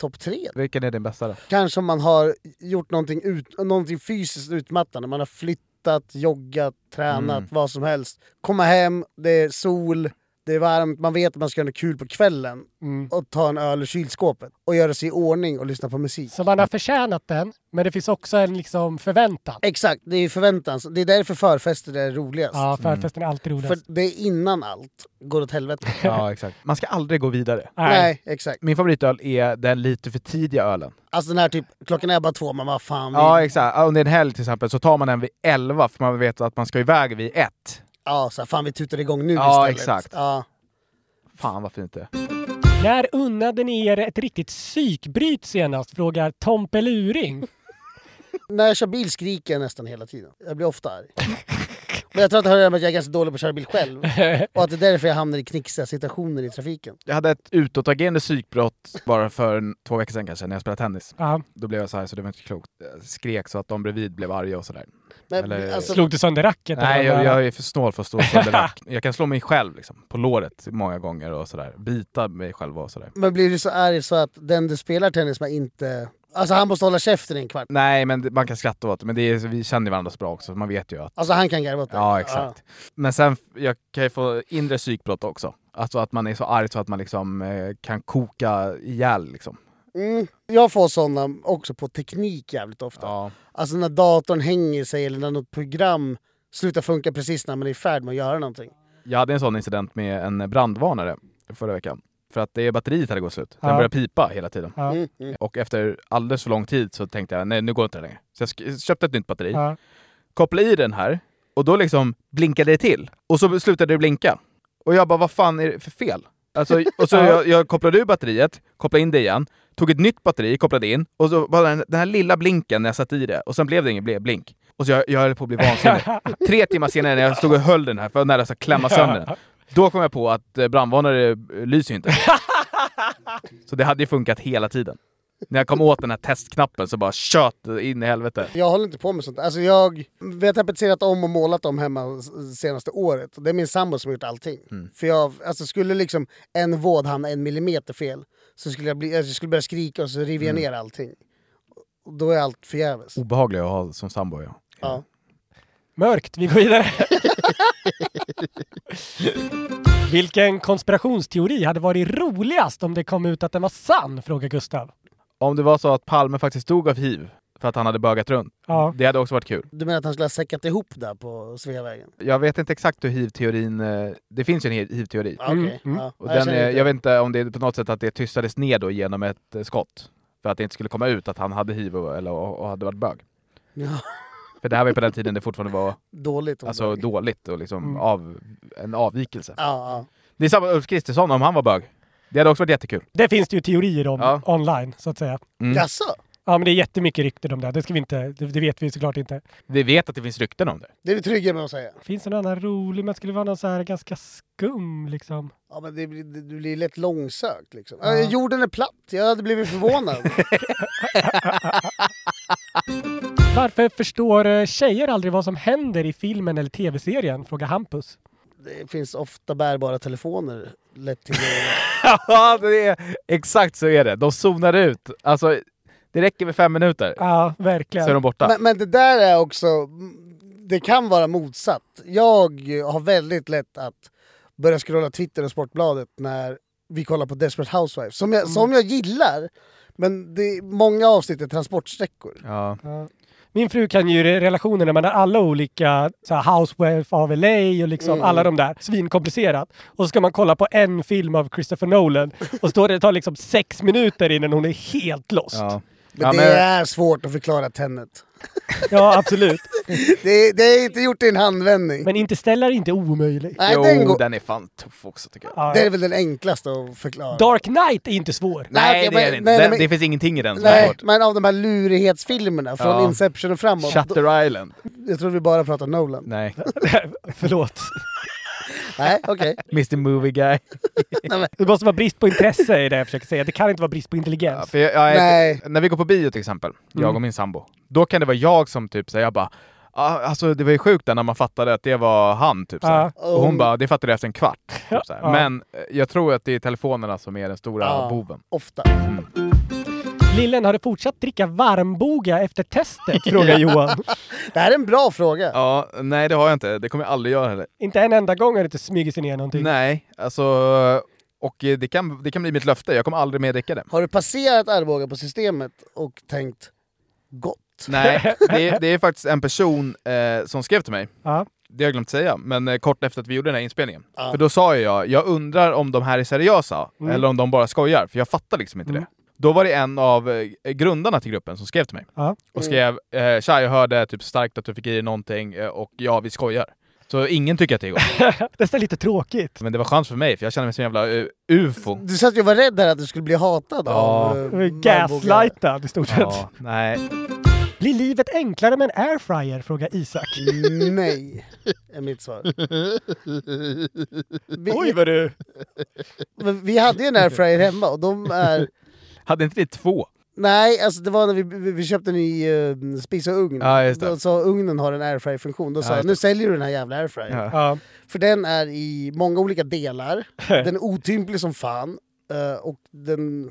Speaker 2: topp tre.
Speaker 1: Vilken är din bästa då?
Speaker 2: Kanske om man har gjort någonting, ut, någonting fysiskt utmattande. Man har flyttat, joggat, tränat,
Speaker 1: Mm.
Speaker 2: vad som helst. Komma hem, det är sol, det är varmt, man vet att man ska ha något kul på kvällen.
Speaker 1: Mm.
Speaker 2: Och ta en öl ur kylskåpet. Och göra sig i ordning och lyssna på musik.
Speaker 3: Så man har förtjänat den, men det finns också en liksom förväntan.
Speaker 2: Exakt, det är förväntan. Det är därför förfester är roligast.
Speaker 3: Ja, förfesten är alltid roligast.
Speaker 2: För det är innan allt går åt helvete.
Speaker 1: [LAUGHS] Ja, exakt. Man ska aldrig gå vidare.
Speaker 2: Nej, exakt.
Speaker 1: Min favoritöl är den lite för tidiga ölen.
Speaker 2: Alltså den här typ, klockan är bara två, man bara fan... vi-
Speaker 1: Ja, exakt. Om det är en helg till exempel så tar man den vid 11 för man vet att man ska iväg vid 1.
Speaker 2: Ja, så här, fan vi tutar igång nu
Speaker 1: Ja,
Speaker 2: istället.
Speaker 1: exakt.
Speaker 2: Ja,
Speaker 1: Fan vad fint det är.
Speaker 3: När unnade ni er ett riktigt psykbryt senast? Frågar Tompe Luring.
Speaker 2: När jag kör bil skriker jag nästan hela tiden. Jag blir ofta arg. [LAUGHS] Men jag tror att det har att göra med att jag är ganska dålig på att köra bil själv. Och att det är därför jag hamnar i knixiga situationer i trafiken.
Speaker 1: Jag hade ett utåtagerande psykbrott bara för en, två veckor sedan kanske, när jag spelade tennis.
Speaker 3: Ja.
Speaker 1: Då blev jag så här så det var inte klokt. Jag skrek så att de bredvid blev arga och sådär.
Speaker 2: Men, alltså-
Speaker 3: Slog du sönder racket?
Speaker 1: Nej,
Speaker 3: eller?
Speaker 1: jag, jag är för snål för att stå sönder rack. Jag kan slå mig själv liksom, på låret många gånger och sådär. Bita mig själv och sådär.
Speaker 2: Men blir du så arg så att den du spelar tennis med inte... Alltså han måste hålla käften i en kvart.
Speaker 1: Nej, men det- man kan skratta åt det. Men det är, vi känner ju varandra så bra också. Man vet ju att...
Speaker 2: Alltså han kan garva åt dig.
Speaker 1: Ja, exakt. Men sen, jag kan ju få inre psykbrott också. Alltså att man är så arg så att man liksom eh, kan koka ihjäl liksom.
Speaker 2: Mm. Jag får sådana också på teknik jävligt ofta. Alltså när datorn hänger sig eller när något program slutar funka precis när man är i färd med att göra någonting.
Speaker 1: Jag hade en sån incident med en brandvarnare förra veckan. För att det batteriet hade gått slut. Den
Speaker 3: Ja.
Speaker 1: började pipa hela tiden.
Speaker 3: Ja. Mm,
Speaker 1: Och efter alldeles för lång tid så tänkte jag, nej nu går inte det längre. Så jag sk- köpte ett nytt batteri.
Speaker 3: Ja.
Speaker 1: Kopplade i den här och då liksom blinkade det till. Och så slutade det blinka. Och jag bara, vad fan är det för fel? Alltså, och så
Speaker 3: Ja.
Speaker 1: jag, jag kopplade ur batteriet, kopplade in det igen, tog ett nytt batteri, kopplade in och så bara den, den här lilla blinken när jag satte i det och sen blev det ingen bl- blink. Och så jag, jag höll på att bli vansinnig. Tre timmar senare när jag stod och höll den här för jag var nära att klämma sönder den. Då kom jag på att eh, brandvarnare eh, lyser ju inte. Så det hade ju funkat hela tiden. När jag kom åt den här testknappen så bara tjöt det in i helvete.
Speaker 2: Jag håller inte på med sånt. Alltså jag, vi har tapetserat om och målat om hemma s- senaste året. Det är min sambo som har gjort allting.
Speaker 1: Mm.
Speaker 2: För jag, alltså skulle liksom en våd hamna en millimeter fel så skulle jag, bli, alltså, jag skulle börja skrika och så river jag
Speaker 1: Mm.
Speaker 2: ner allting. Och då är allt förgäves.
Speaker 1: Obehaglig att ha som sambo ja.
Speaker 2: Ja.
Speaker 3: Mörkt, vi går vidare. [LAUGHS] Vilken konspirationsteori hade varit roligast om det kom ut att den var sann? Frågar Gustav.
Speaker 1: Om det var så att Palme faktiskt dog av hiv för att han hade bögat runt.
Speaker 3: Ja.
Speaker 1: Det hade också varit kul.
Speaker 2: Du menar att han skulle ha säckat ihop där på Sveavägen?
Speaker 1: Jag vet inte exakt hur hiv-teorin... eh, Det finns ju en hi- hiv-teori.
Speaker 2: Okej, Mm. ja.
Speaker 1: Och
Speaker 2: Jag
Speaker 1: den,
Speaker 2: känner
Speaker 1: jag,
Speaker 2: inte-
Speaker 1: jag vet inte om det är på något sätt att det tystades ner då genom ett eh, skott. För att det inte skulle komma ut att han hade hiv och, eller, och, och hade varit bög.
Speaker 2: [LAUGHS] Ja.
Speaker 1: För det här var ju på den tiden det fortfarande
Speaker 2: [LAUGHS]
Speaker 1: var
Speaker 2: Dåligt. om
Speaker 1: alltså,
Speaker 2: bög.
Speaker 1: dåligt och liksom
Speaker 2: Mm.
Speaker 1: av, en avvikelse.
Speaker 2: Ja, ja.
Speaker 1: Det är samma med Ulf Kristersson om han var bög. Det hade också varit jättekul.
Speaker 3: Det finns det ju teorier om online, så att säga.
Speaker 1: Mm. Jaså?
Speaker 3: Ja, men det är jättemycket rykten om det. Det, ska vi inte, det, det vet vi såklart inte.
Speaker 1: Vi vet att det finns rykten
Speaker 2: [LAUGHS]
Speaker 1: om det.
Speaker 2: Det är vi trygga med att säga.
Speaker 3: Finns det någon annan rolig, men skulle vara någon så här ganska skum liksom?
Speaker 2: Ja, men det blir, det det blir lätt långsökt liksom. Ja. Jorden är platt, jag hade
Speaker 1: [LAUGHS]
Speaker 2: blivit förvånad.
Speaker 3: Varför förstår eh, tjejer aldrig vad som händer i filmen eller tv-serien? Frågar Hampus.
Speaker 2: det finns ofta bärbara telefoner lätt till
Speaker 1: Ja, det är, exakt så är det. De zonar ut. Alltså, det räcker med fem minuter.
Speaker 3: Ja, verkligen.
Speaker 1: Så är de borta.
Speaker 2: Men, men det där är också, mm, det kan vara motsatt. Jag har väldigt lätt att börja scrolla Twitter och Sportbladet när vi kollar på Desperate Housewives, som jag, som jag gillar. Men det är många avsnitt är transportsträckor.
Speaker 1: Ja.
Speaker 3: Min fru kan ju re- relationerna mellan alla olika, så här Housewife of LA och liksom
Speaker 2: Mm.
Speaker 3: alla de där, svinkomplicerat. Och så ska man kolla på en film av Christopher Nolan och står det, det tar liksom sex minuter innan hon är helt lost.
Speaker 1: Ja,
Speaker 2: Men det är svårt att förklara Tenet.
Speaker 3: ja absolut.
Speaker 2: det, det är inte gjort i en handvändning.
Speaker 3: Men Interstellar är inte omöjlig.
Speaker 2: Nej, Jo, den går-
Speaker 1: den är fan tuff också tycker jag.
Speaker 2: Det är väl den enklaste att förklara.
Speaker 3: Dark Knight är inte svår.
Speaker 1: Nej,
Speaker 2: okej,
Speaker 1: det är
Speaker 2: men-
Speaker 1: det inte.
Speaker 2: nej,
Speaker 1: Den-
Speaker 2: men-
Speaker 1: det finns ingenting i den som är
Speaker 2: Nej,
Speaker 1: svårt.
Speaker 2: men av de här lurighetsfilmerna från
Speaker 1: Ja.
Speaker 2: Inception och framåt.
Speaker 1: Shutter
Speaker 2: då-
Speaker 1: Island.
Speaker 2: Jag tror vi bara pratar Nolan.
Speaker 1: Nej.
Speaker 3: [LAUGHS] Förlåt.
Speaker 2: Nej, okej.
Speaker 1: Mr Movie Guy.
Speaker 3: det måste vara brist på intresse i det jag försöker säga. Det kan inte vara brist på intelligens.
Speaker 1: För jag, jag,
Speaker 3: Nej.
Speaker 1: När vi går på bio till exempel, jag
Speaker 3: Mm.
Speaker 1: och min sambo, då kan det vara jag som typ säger jag bara "Ah, Alltså det var ju sjukt där när man fattade att det var han typ såhär.
Speaker 3: Ja.
Speaker 1: Och
Speaker 2: Oh.
Speaker 1: hon bara, det fattade jag efter en kvart. Typ, såhär.
Speaker 3: Ja.
Speaker 1: Men eh, jag tror att det är telefonerna som är den stora
Speaker 3: Ja.
Speaker 1: boven.
Speaker 2: Ofta.
Speaker 3: Lillen, har du fortsatt dricka varmboga efter testet? [LAUGHS] Frågar Johan.
Speaker 2: Det här är en bra fråga.
Speaker 1: Ja, nej det har jag inte. Det kommer jag aldrig göra heller.
Speaker 3: Inte en enda gång har det inte smugit sig ner någonting.
Speaker 1: Nej, alltså... Och eh, det kan, det kan bli mitt löfte. Jag kommer aldrig mer dricka
Speaker 3: [LAUGHS]
Speaker 1: det.
Speaker 2: Har du passerat Arboga på systemet och tänkt gott?
Speaker 1: Nej, det är, det är faktiskt en person eh, som skrev till mig.
Speaker 3: Ja.
Speaker 1: Det har jag glömt säga, men eh, kort efter att vi gjorde den här inspelningen.
Speaker 2: Ja.
Speaker 1: För då sa ju jag, jag undrar om de här är seriösa
Speaker 3: Mm.
Speaker 1: eller om de bara skojar, för jag fattar liksom inte
Speaker 3: Mm.
Speaker 1: det. Då var det en av eh, grundarna till gruppen som skrev till mig
Speaker 3: Ja. [LAUGHS]
Speaker 1: och skrev eh, “Tja, jag hörde typ starkt att du fick i dig någonting eh, och ja, vi skojar”. Så ingen tycker att det är
Speaker 3: [LAUGHS]
Speaker 1: gott.
Speaker 3: Det är lite tråkigt.
Speaker 1: Men det var skönt för mig, för jag känner mig som en jävla eh, ufo.
Speaker 2: Du sa att jag var rädd här att du skulle bli hatad av... eh, Arboga.
Speaker 3: Gaslightad i stort sett.
Speaker 1: Ja, nej.
Speaker 3: Blir livet enklare med en airfryer? Frågar Isak.
Speaker 2: Nej, är mitt svar. Vi,
Speaker 3: Oj vad du...
Speaker 2: Men vi hade ju en airfryer hemma och de är...
Speaker 1: Hade inte ni två?
Speaker 2: Nej, alltså det var när vi, vi vi köpte en ny eh, spis och ugn.
Speaker 1: Ja, just det.
Speaker 2: Då sa ugnen har en airfryer-funktion. Då
Speaker 1: Ja,
Speaker 2: sa
Speaker 1: just
Speaker 2: jag,
Speaker 1: det.
Speaker 2: nu säljer du den här jävla airfryern.
Speaker 1: Ja.
Speaker 3: Ja.
Speaker 2: För den
Speaker 1: [LAUGHS]
Speaker 2: är i många olika delar. Den är otymplig som fan. eh, och den...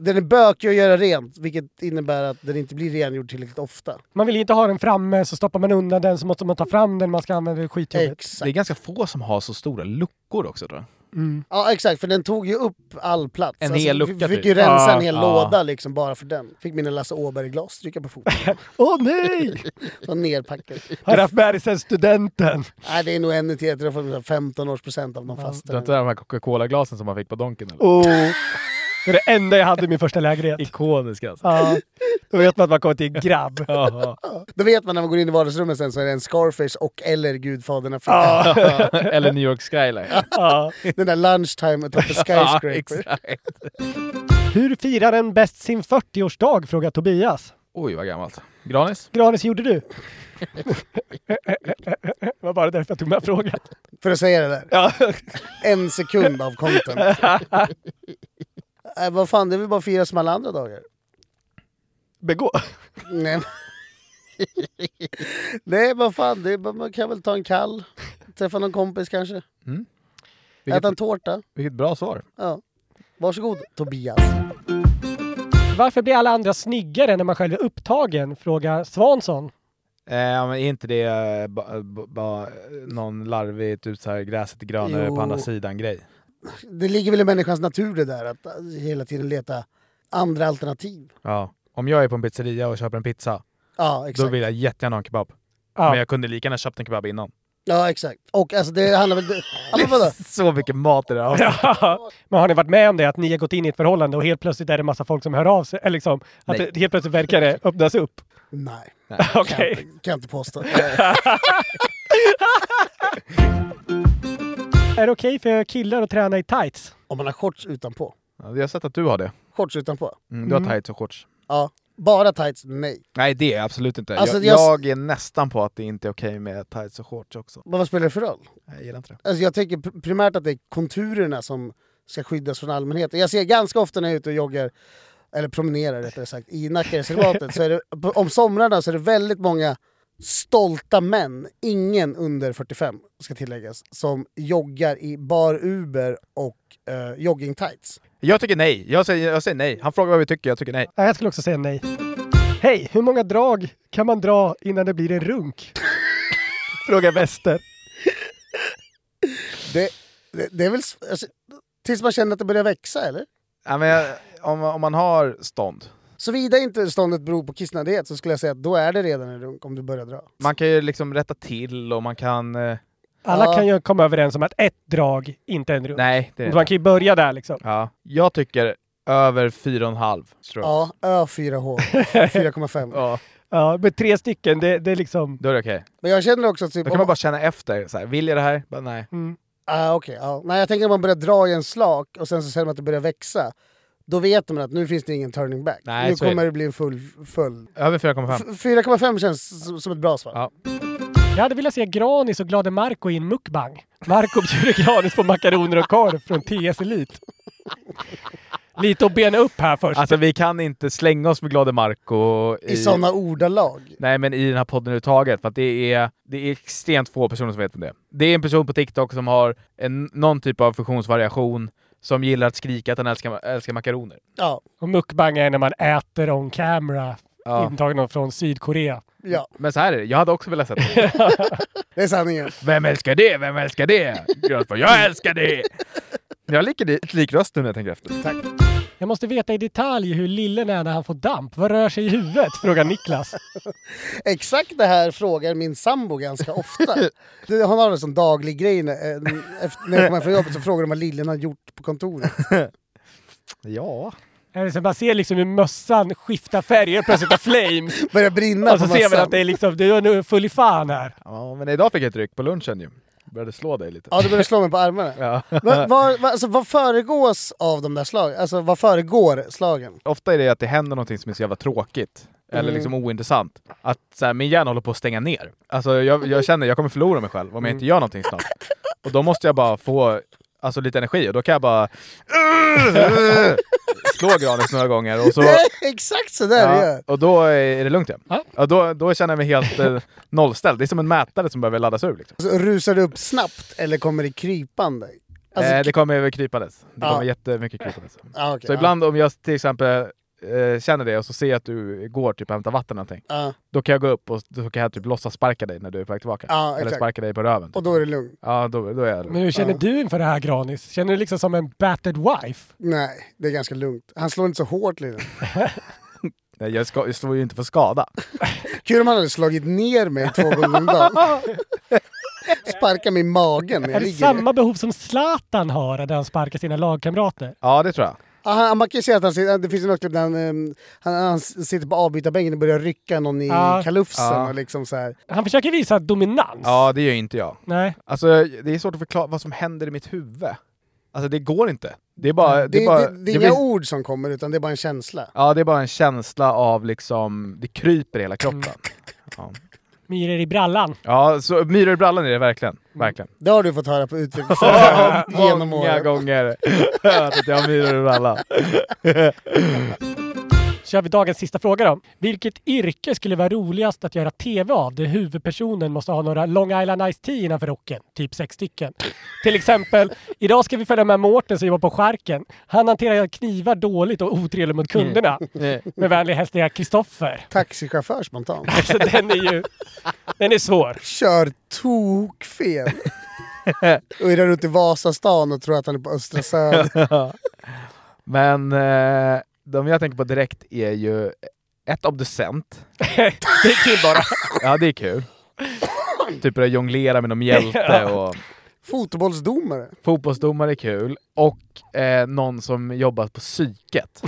Speaker 2: Den är bökig att göra rent, vilket innebär att den inte blir rengjord tillräckligt ofta.
Speaker 3: Man vill inte ha den framme, så stoppar man undan den så måste man ta fram den man ska använda. Det är skitjobbigt.
Speaker 1: Det är ganska få som har så stora luckor också tror jag.
Speaker 2: Ja exakt, för den tog ju upp all plats. Alltså,
Speaker 1: En hel lucka,
Speaker 2: Vi fick
Speaker 1: typ.
Speaker 2: ju rensa en hel
Speaker 1: Ja, ja.
Speaker 2: låda liksom bara för den. Fick mina Lasse Åberg-glas stryka på foten.
Speaker 1: [LAUGHS]
Speaker 3: Åh [LAUGHS] nej!
Speaker 2: Så nerpackade.
Speaker 3: Har haft med dig sen studenten.
Speaker 2: Nej det är nog en etikett, jag får 15 års procent av någon
Speaker 1: Det är
Speaker 2: fasta.
Speaker 1: inte de här Coca-Cola-glasen som man fick på Donken eller?
Speaker 3: Oh. Det är det enda jag hade i min första lägenhet.
Speaker 1: Ikoniska alltså.
Speaker 3: Ja. Då vet man att man kommer till en grabb.
Speaker 2: Då vet man när man går in i vardagsrummet sen så är det en Scarface och eller Gudfadern
Speaker 1: Ja. [LAUGHS] eller New York Skyline.
Speaker 2: [LAUGHS] Den där lunchtime atop a
Speaker 1: [LAUGHS] Ja,
Speaker 2: skyscraper.
Speaker 1: exakt.
Speaker 3: Hur firar en bäst sin 40-årsdag? frågar Tobias.
Speaker 1: Oj vad gammalt. Granis?
Speaker 3: Granis, gjorde du? [LAUGHS] Det var bara därför jag tog med frågan.
Speaker 2: För att säga det där. En sekund av
Speaker 1: [LAUGHS]
Speaker 2: content. äh, vad fan, det är väl bara att fira som alla andra dagar.
Speaker 3: Begå?
Speaker 2: Nej. men- Nej, vad fan, det är, bara- man kan väl ta en kall. Träffa någon kompis kanske.
Speaker 1: Mm.
Speaker 2: Äta en tårta.
Speaker 1: Vilket bra svar.
Speaker 2: Ja. Varsågod Tobias.
Speaker 3: Varför blir alla andra snyggare när man själv är upptagen? frågar Svansson.
Speaker 1: Eh, men är inte det eh, ba- ba- ba- någon larvig typ så här gräset är grönare
Speaker 2: Jo.
Speaker 1: på andra sidan grej?
Speaker 2: Det ligger väl i människans natur det där att äh, hela tiden leta andra alternativ.
Speaker 1: Ja. Om jag är på en pizzeria och köper en pizza,
Speaker 2: Ja,
Speaker 1: då
Speaker 2: exakt.
Speaker 1: vill jag jättegärna ha en kebab.
Speaker 3: Ja.
Speaker 1: Men jag kunde lika gärna köpt en kebab innan.
Speaker 2: Ja, exakt. Och alltså det handlar väl... Ja,
Speaker 1: [LAUGHS]
Speaker 2: men vadå?
Speaker 1: Så mycket mat i det här
Speaker 3: Men har ni varit med om det, att ni har gått in i ett förhållande och helt plötsligt är det massa folk som hör av sig? Eller liksom, att
Speaker 1: Nej.
Speaker 3: det helt plötsligt verkar det öppnas upp?
Speaker 2: Nej. Kan, jag
Speaker 3: Okej.
Speaker 2: inte- kan jag
Speaker 1: [LAUGHS]
Speaker 2: inte påstå.
Speaker 3: Är det okej för killar att träna i tights?
Speaker 2: Om man har shorts utanpå.
Speaker 1: Ja, Jag har sett att du har det.
Speaker 2: Shorts utanpå?
Speaker 1: Mm, du har tights och shorts.
Speaker 2: Ja. Bara tights? Nej.
Speaker 1: Nej, det är absolut inte.
Speaker 2: Alltså,
Speaker 1: jag,
Speaker 2: jag-
Speaker 1: jag... är nästan på att det inte är okej med tights och shorts också.
Speaker 2: Men vad spelar det för roll?
Speaker 1: Nej, Jag gillar inte det.
Speaker 2: Alltså jag tänker pr- primärt att det är konturerna som ska skyddas från allmänheten. Jag ser ganska ofta när jag är ute och joggar, eller promenerar rättare sagt, i Nackareservatet, så är det, på- om somrarna så är det väldigt många stolta män, ingen under 45 ska tilläggas, som joggar i bar Uber och eh, jogging tights.
Speaker 1: Jag tycker nej. Jag säger, jag säger nej. Han frågar vad vi tycker, jag tycker nej.
Speaker 3: Nej, jag skulle också säga nej. Hej, hur många drag kan man dra innan det blir en runk? Frågar Wester.
Speaker 2: Det, det, det är väl... s- Alltså, tills man känner att det börjar växa, eller?
Speaker 1: Ja, men jag, om, om man har stånd.
Speaker 2: Såvida inte ståndet beror på kissnödighet så skulle jag säga att då är det redan en runk om du börjar dra.
Speaker 1: Man kan ju liksom rätta till och man kan... eh,
Speaker 3: Alla
Speaker 2: Ja.
Speaker 3: kan ju komma överens om att ett drag inte är en runk.
Speaker 1: Nej, det är det
Speaker 3: Man kan ju börja där liksom.
Speaker 1: Ja. Jag tycker över 4,5 tror jag.
Speaker 2: Ja, Ö4H. 4,5.
Speaker 1: [LAUGHS] Ja.
Speaker 3: Ja, men tre stycken, det, det är liksom...
Speaker 1: Då är det okej.
Speaker 2: Men jag känner också att typ...
Speaker 1: Då
Speaker 2: om-
Speaker 1: kan man bara känna efter. Så här, vill jag det här? Bara, nej.
Speaker 2: Ah, okej, ja. Nej, jag tänker att man börjar dra i en slak och sen så känner man att det börjar växa. Då vet man att nu finns det ingen turning back.
Speaker 1: Nej,
Speaker 2: nu
Speaker 1: så är
Speaker 2: kommer
Speaker 1: det.
Speaker 2: det bli en full följd.
Speaker 1: Över
Speaker 2: F-
Speaker 1: 4,5.
Speaker 2: 4,5 känns s- som ett bra svar.
Speaker 1: Ja.
Speaker 3: Jag hade velat se Granis och Glade Marco i en mukbang. Marco bjuder Granis på makaroner och korv från TS Elit. Lite att bena upp här först.
Speaker 1: Alltså vi kan inte slänga oss med Glade Marco
Speaker 2: I sådana ordalag.
Speaker 1: Nej, men i den här podden överhuvudtaget. För att det är, det är extremt få personer som vet om det. Det är en person på TikTok som har en, någon typ av funktionsvariation som gillar att skrika att han älskar, älskar makaroner.
Speaker 2: Ja,
Speaker 3: Och mukbang är när man äter on camera.
Speaker 1: Ja.
Speaker 3: Intagna från Sydkorea.
Speaker 2: ja.
Speaker 1: Men så här är det, jag hade också velat se det.
Speaker 2: Det är sanningen.
Speaker 1: Vem älskar det? Vem älskar det? Gröt bara, jag älskar det! Jag har lik, lik röst nu när jag tänker efter.
Speaker 2: Tack.
Speaker 3: Jag måste veta i detalj hur lillen är när han får damp. Vad rör sig i huvudet? Frågar Niklas.
Speaker 2: Exakt det här frågar min sambo ganska ofta.
Speaker 3: [LAUGHS]
Speaker 2: Det- Hon har en sån daglig grej när, eh, efter- när jag kommer hem från jobbet så frågar de vad lillen har gjort på kontoret.
Speaker 1: Ja.
Speaker 3: Eller så Man ser liksom hur mössan skiftar färg. Helt Plötsligt
Speaker 1: [LAUGHS]
Speaker 3: har flames.
Speaker 2: Börjar brinna
Speaker 3: Och så
Speaker 2: på
Speaker 3: ser man
Speaker 2: mössan.
Speaker 3: att det är liksom, du är nu full i fan här.
Speaker 1: ja. Men idag fick jag ett ryck på lunchen ju. Började slå dig lite.
Speaker 2: Ja, du börjar slå mig på armarna.
Speaker 1: Ja.
Speaker 2: Va, va, va, alltså, vad föregås av de där slagen? Alltså vad föregår slagen?
Speaker 1: Ofta är det att det händer någonting som är så jävla tråkigt.
Speaker 2: Mm.
Speaker 1: Eller liksom ointressant. Att så här, min hjärna håller på att stänga ner. Alltså jag, jag känner jag kommer förlora mig själv
Speaker 2: Mm.
Speaker 1: om jag inte gör någonting snart. Och då måste jag bara få alltså, lite energi och då kan jag bara [LAUGHS] slå Granis några gånger och så...
Speaker 2: Det är [LAUGHS] exakt sådär det
Speaker 1: Ja,
Speaker 2: gör.
Speaker 1: och då är det lugnt igen.
Speaker 3: Ja.
Speaker 1: Ja, då, då känner jag mig helt eh, nollställd. Det är som en mätare som behöver laddas ur. Liksom.
Speaker 2: Alltså, rusar du upp snabbt eller kommer det krypande? Alltså,
Speaker 1: eh, det kommer över krypandes. Det
Speaker 2: Ja.
Speaker 1: kommer jättemycket krypandes.
Speaker 2: Ja, okej,
Speaker 1: så
Speaker 2: ja.
Speaker 1: ibland om jag till exempel eh, känner det och så ser jag att du går typ och hämtar vatten eller någonting.
Speaker 2: Ja.
Speaker 1: Då kan jag gå upp och så kan jag typ låtsas sparka dig när du är på väg tillbaka.
Speaker 2: Ja,
Speaker 1: eller
Speaker 2: exakt.
Speaker 1: sparka dig på röven. typ.
Speaker 2: Och då är det lugnt.
Speaker 1: Ja, då, då är jag
Speaker 3: Men hur känner du inför det här Granis? Känner du liksom som en battered wife?
Speaker 2: Nej, det är ganska lugnt. Han slår inte så hårt Lina.
Speaker 1: Nej, jag, ska, jag slår ju inte för skada.
Speaker 2: Kul om han hade slagit ner mig två gånger om
Speaker 3: [LAUGHS]
Speaker 2: dagen. Sparka mig i magen när
Speaker 3: Är
Speaker 2: jag
Speaker 3: det
Speaker 2: ligger ner.
Speaker 3: samma behov som Zlatan har när han sparkar sina lagkamrater?
Speaker 1: Ja, det tror jag.
Speaker 2: Ja, Ah, han, man kan ju säga att han sitter, det finns ju något klipp där han, ehm, han, han sitter på avbytarbänken och börjar rycka någon i
Speaker 3: Ja.
Speaker 2: kalufsen.
Speaker 1: Ja.
Speaker 2: Och liksom så här.
Speaker 3: Han försöker visa dominans.
Speaker 1: Ja, det gör inte jag.
Speaker 3: Nej.
Speaker 1: Alltså, det är svårt att förklara vad som händer i mitt huvud. Alltså, det går inte. Det är bara...
Speaker 2: det, det,
Speaker 1: är bara,
Speaker 2: det, är inga
Speaker 1: blir-
Speaker 2: ord som kommer utan det är bara en känsla.
Speaker 1: Ja, det är bara en känsla av liksom... Det kryper i hela
Speaker 2: Mm.
Speaker 1: kroppen. Ja,
Speaker 3: Myror i brallan.
Speaker 1: ja så myror i brallan är det verkligen. Verkligen.
Speaker 2: Det har du fått höra
Speaker 1: [LAUGHS]
Speaker 2: på utvecklingssamtal Mm. genom
Speaker 1: Många
Speaker 2: åren.
Speaker 1: gånger [LAUGHS] har jag hört att jag har myror i brallan.
Speaker 2: [LAUGHS]
Speaker 3: Kör vi dagens sista fråga då. Vilket yrke skulle vara roligast att göra TV av där huvudpersonen måste ha några Long Island Ice Tea innanför rocken? Typ sex stycken. Till exempel, idag ska vi följa med Mårten som jobbar på Charken. Han hanterar knivar dåligt och otrevlig mot kunderna.
Speaker 1: Mm.
Speaker 3: Med vänliga hälsningar Kristoffer.
Speaker 2: Taxichaufför spontant.
Speaker 3: Alltså den är ju... Den är svår.
Speaker 2: Kör tokfel.
Speaker 1: [LAUGHS]
Speaker 2: och irrar runt i Vasastan och tror att han är på Östra Söder.
Speaker 1: [LAUGHS] Men eh, de jag tänker på direkt är ju ett obducent.
Speaker 3: det är kul bara.
Speaker 1: Ja, det är kul. Typ att jonglera med någon hjälte och...
Speaker 2: Fotbollsdomare.
Speaker 1: Fotbollsdomare är kul. Och eh, någon som jobbar på psyket.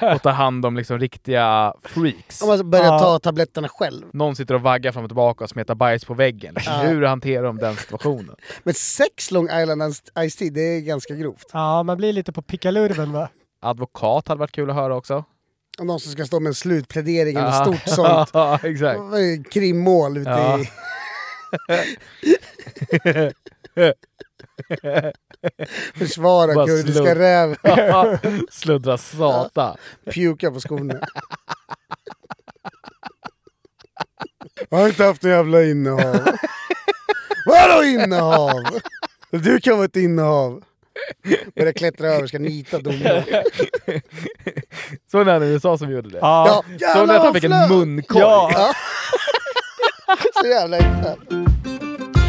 Speaker 1: och tar hand om liksom riktiga freaks.
Speaker 2: Om man börjar ta tabletterna själv.
Speaker 1: Någon sitter och vaggar fram och tillbaka och smetar bajs på väggen.
Speaker 2: Ja.
Speaker 1: Hur hanterar de den situationen?
Speaker 2: Men sex Long Island Ice Tea, det är ganska grovt.
Speaker 3: Ja, man blir lite på pickalurven va?
Speaker 1: Advokat hade varit kul att höra också.
Speaker 2: Om någon som ska stå med en slutplädering eller
Speaker 1: Ja. [LAUGHS]
Speaker 2: stort sånt.
Speaker 1: ja,
Speaker 2: [LAUGHS]
Speaker 1: exakt.
Speaker 2: Vad är det, Krimmål ute
Speaker 1: Ja.
Speaker 2: i... [LAUGHS] Försvara
Speaker 1: Bara
Speaker 2: kurdiska
Speaker 1: slud-
Speaker 2: räven. [LAUGHS]
Speaker 1: Ja, Sluddra sata.
Speaker 2: Puka på skorna. Jag har inte haft något jävla innehav.
Speaker 1: [LAUGHS]
Speaker 2: Vadå innehav? Du kan vara ett innehav. Börjar klättra över, ska nita domaren.
Speaker 1: Såg ni han i USA som gjorde det?
Speaker 2: Ja. Ja,
Speaker 1: Såg ni att
Speaker 2: jävlar,
Speaker 1: han fick en
Speaker 2: vad flög.
Speaker 1: munkorg?
Speaker 2: Ja. Så jävla äkta.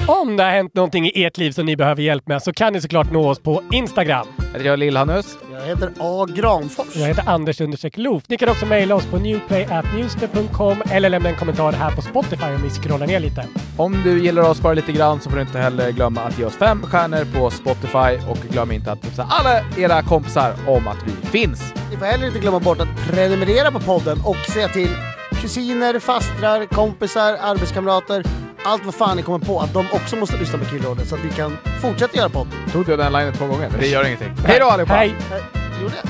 Speaker 3: Om det har hänt någonting i ert liv som ni behöver hjälp med så kan ni såklart nå oss på Instagram.
Speaker 1: Jag är Lill-Hannes.
Speaker 2: Jag heter A. Granfors.
Speaker 3: Jag heter Anders understreck Loof. Ni kan också mejla oss på newplay.newster.com eller lämna en kommentar här på Spotify om ni scrollar ner lite.
Speaker 1: Om du gillar oss bara lite grann så får du inte heller glömma att ge oss fem stjärnor på Spotify och glöm inte att tipsa alla era kompisar om att vi finns.
Speaker 2: Ni får heller inte glömma bort att prenumerera på podden och säga till kusiner, fastrar, kompisar, arbetskamrater, allt vad fan ni kommer på att de också måste lyssna på Killrådet så att vi kan fortsätta göra podd.
Speaker 1: Tog du den linen två gånger? Men det gör ingenting. Hej då allihopa!
Speaker 3: Hej!
Speaker 2: Eh, Gjorde jag?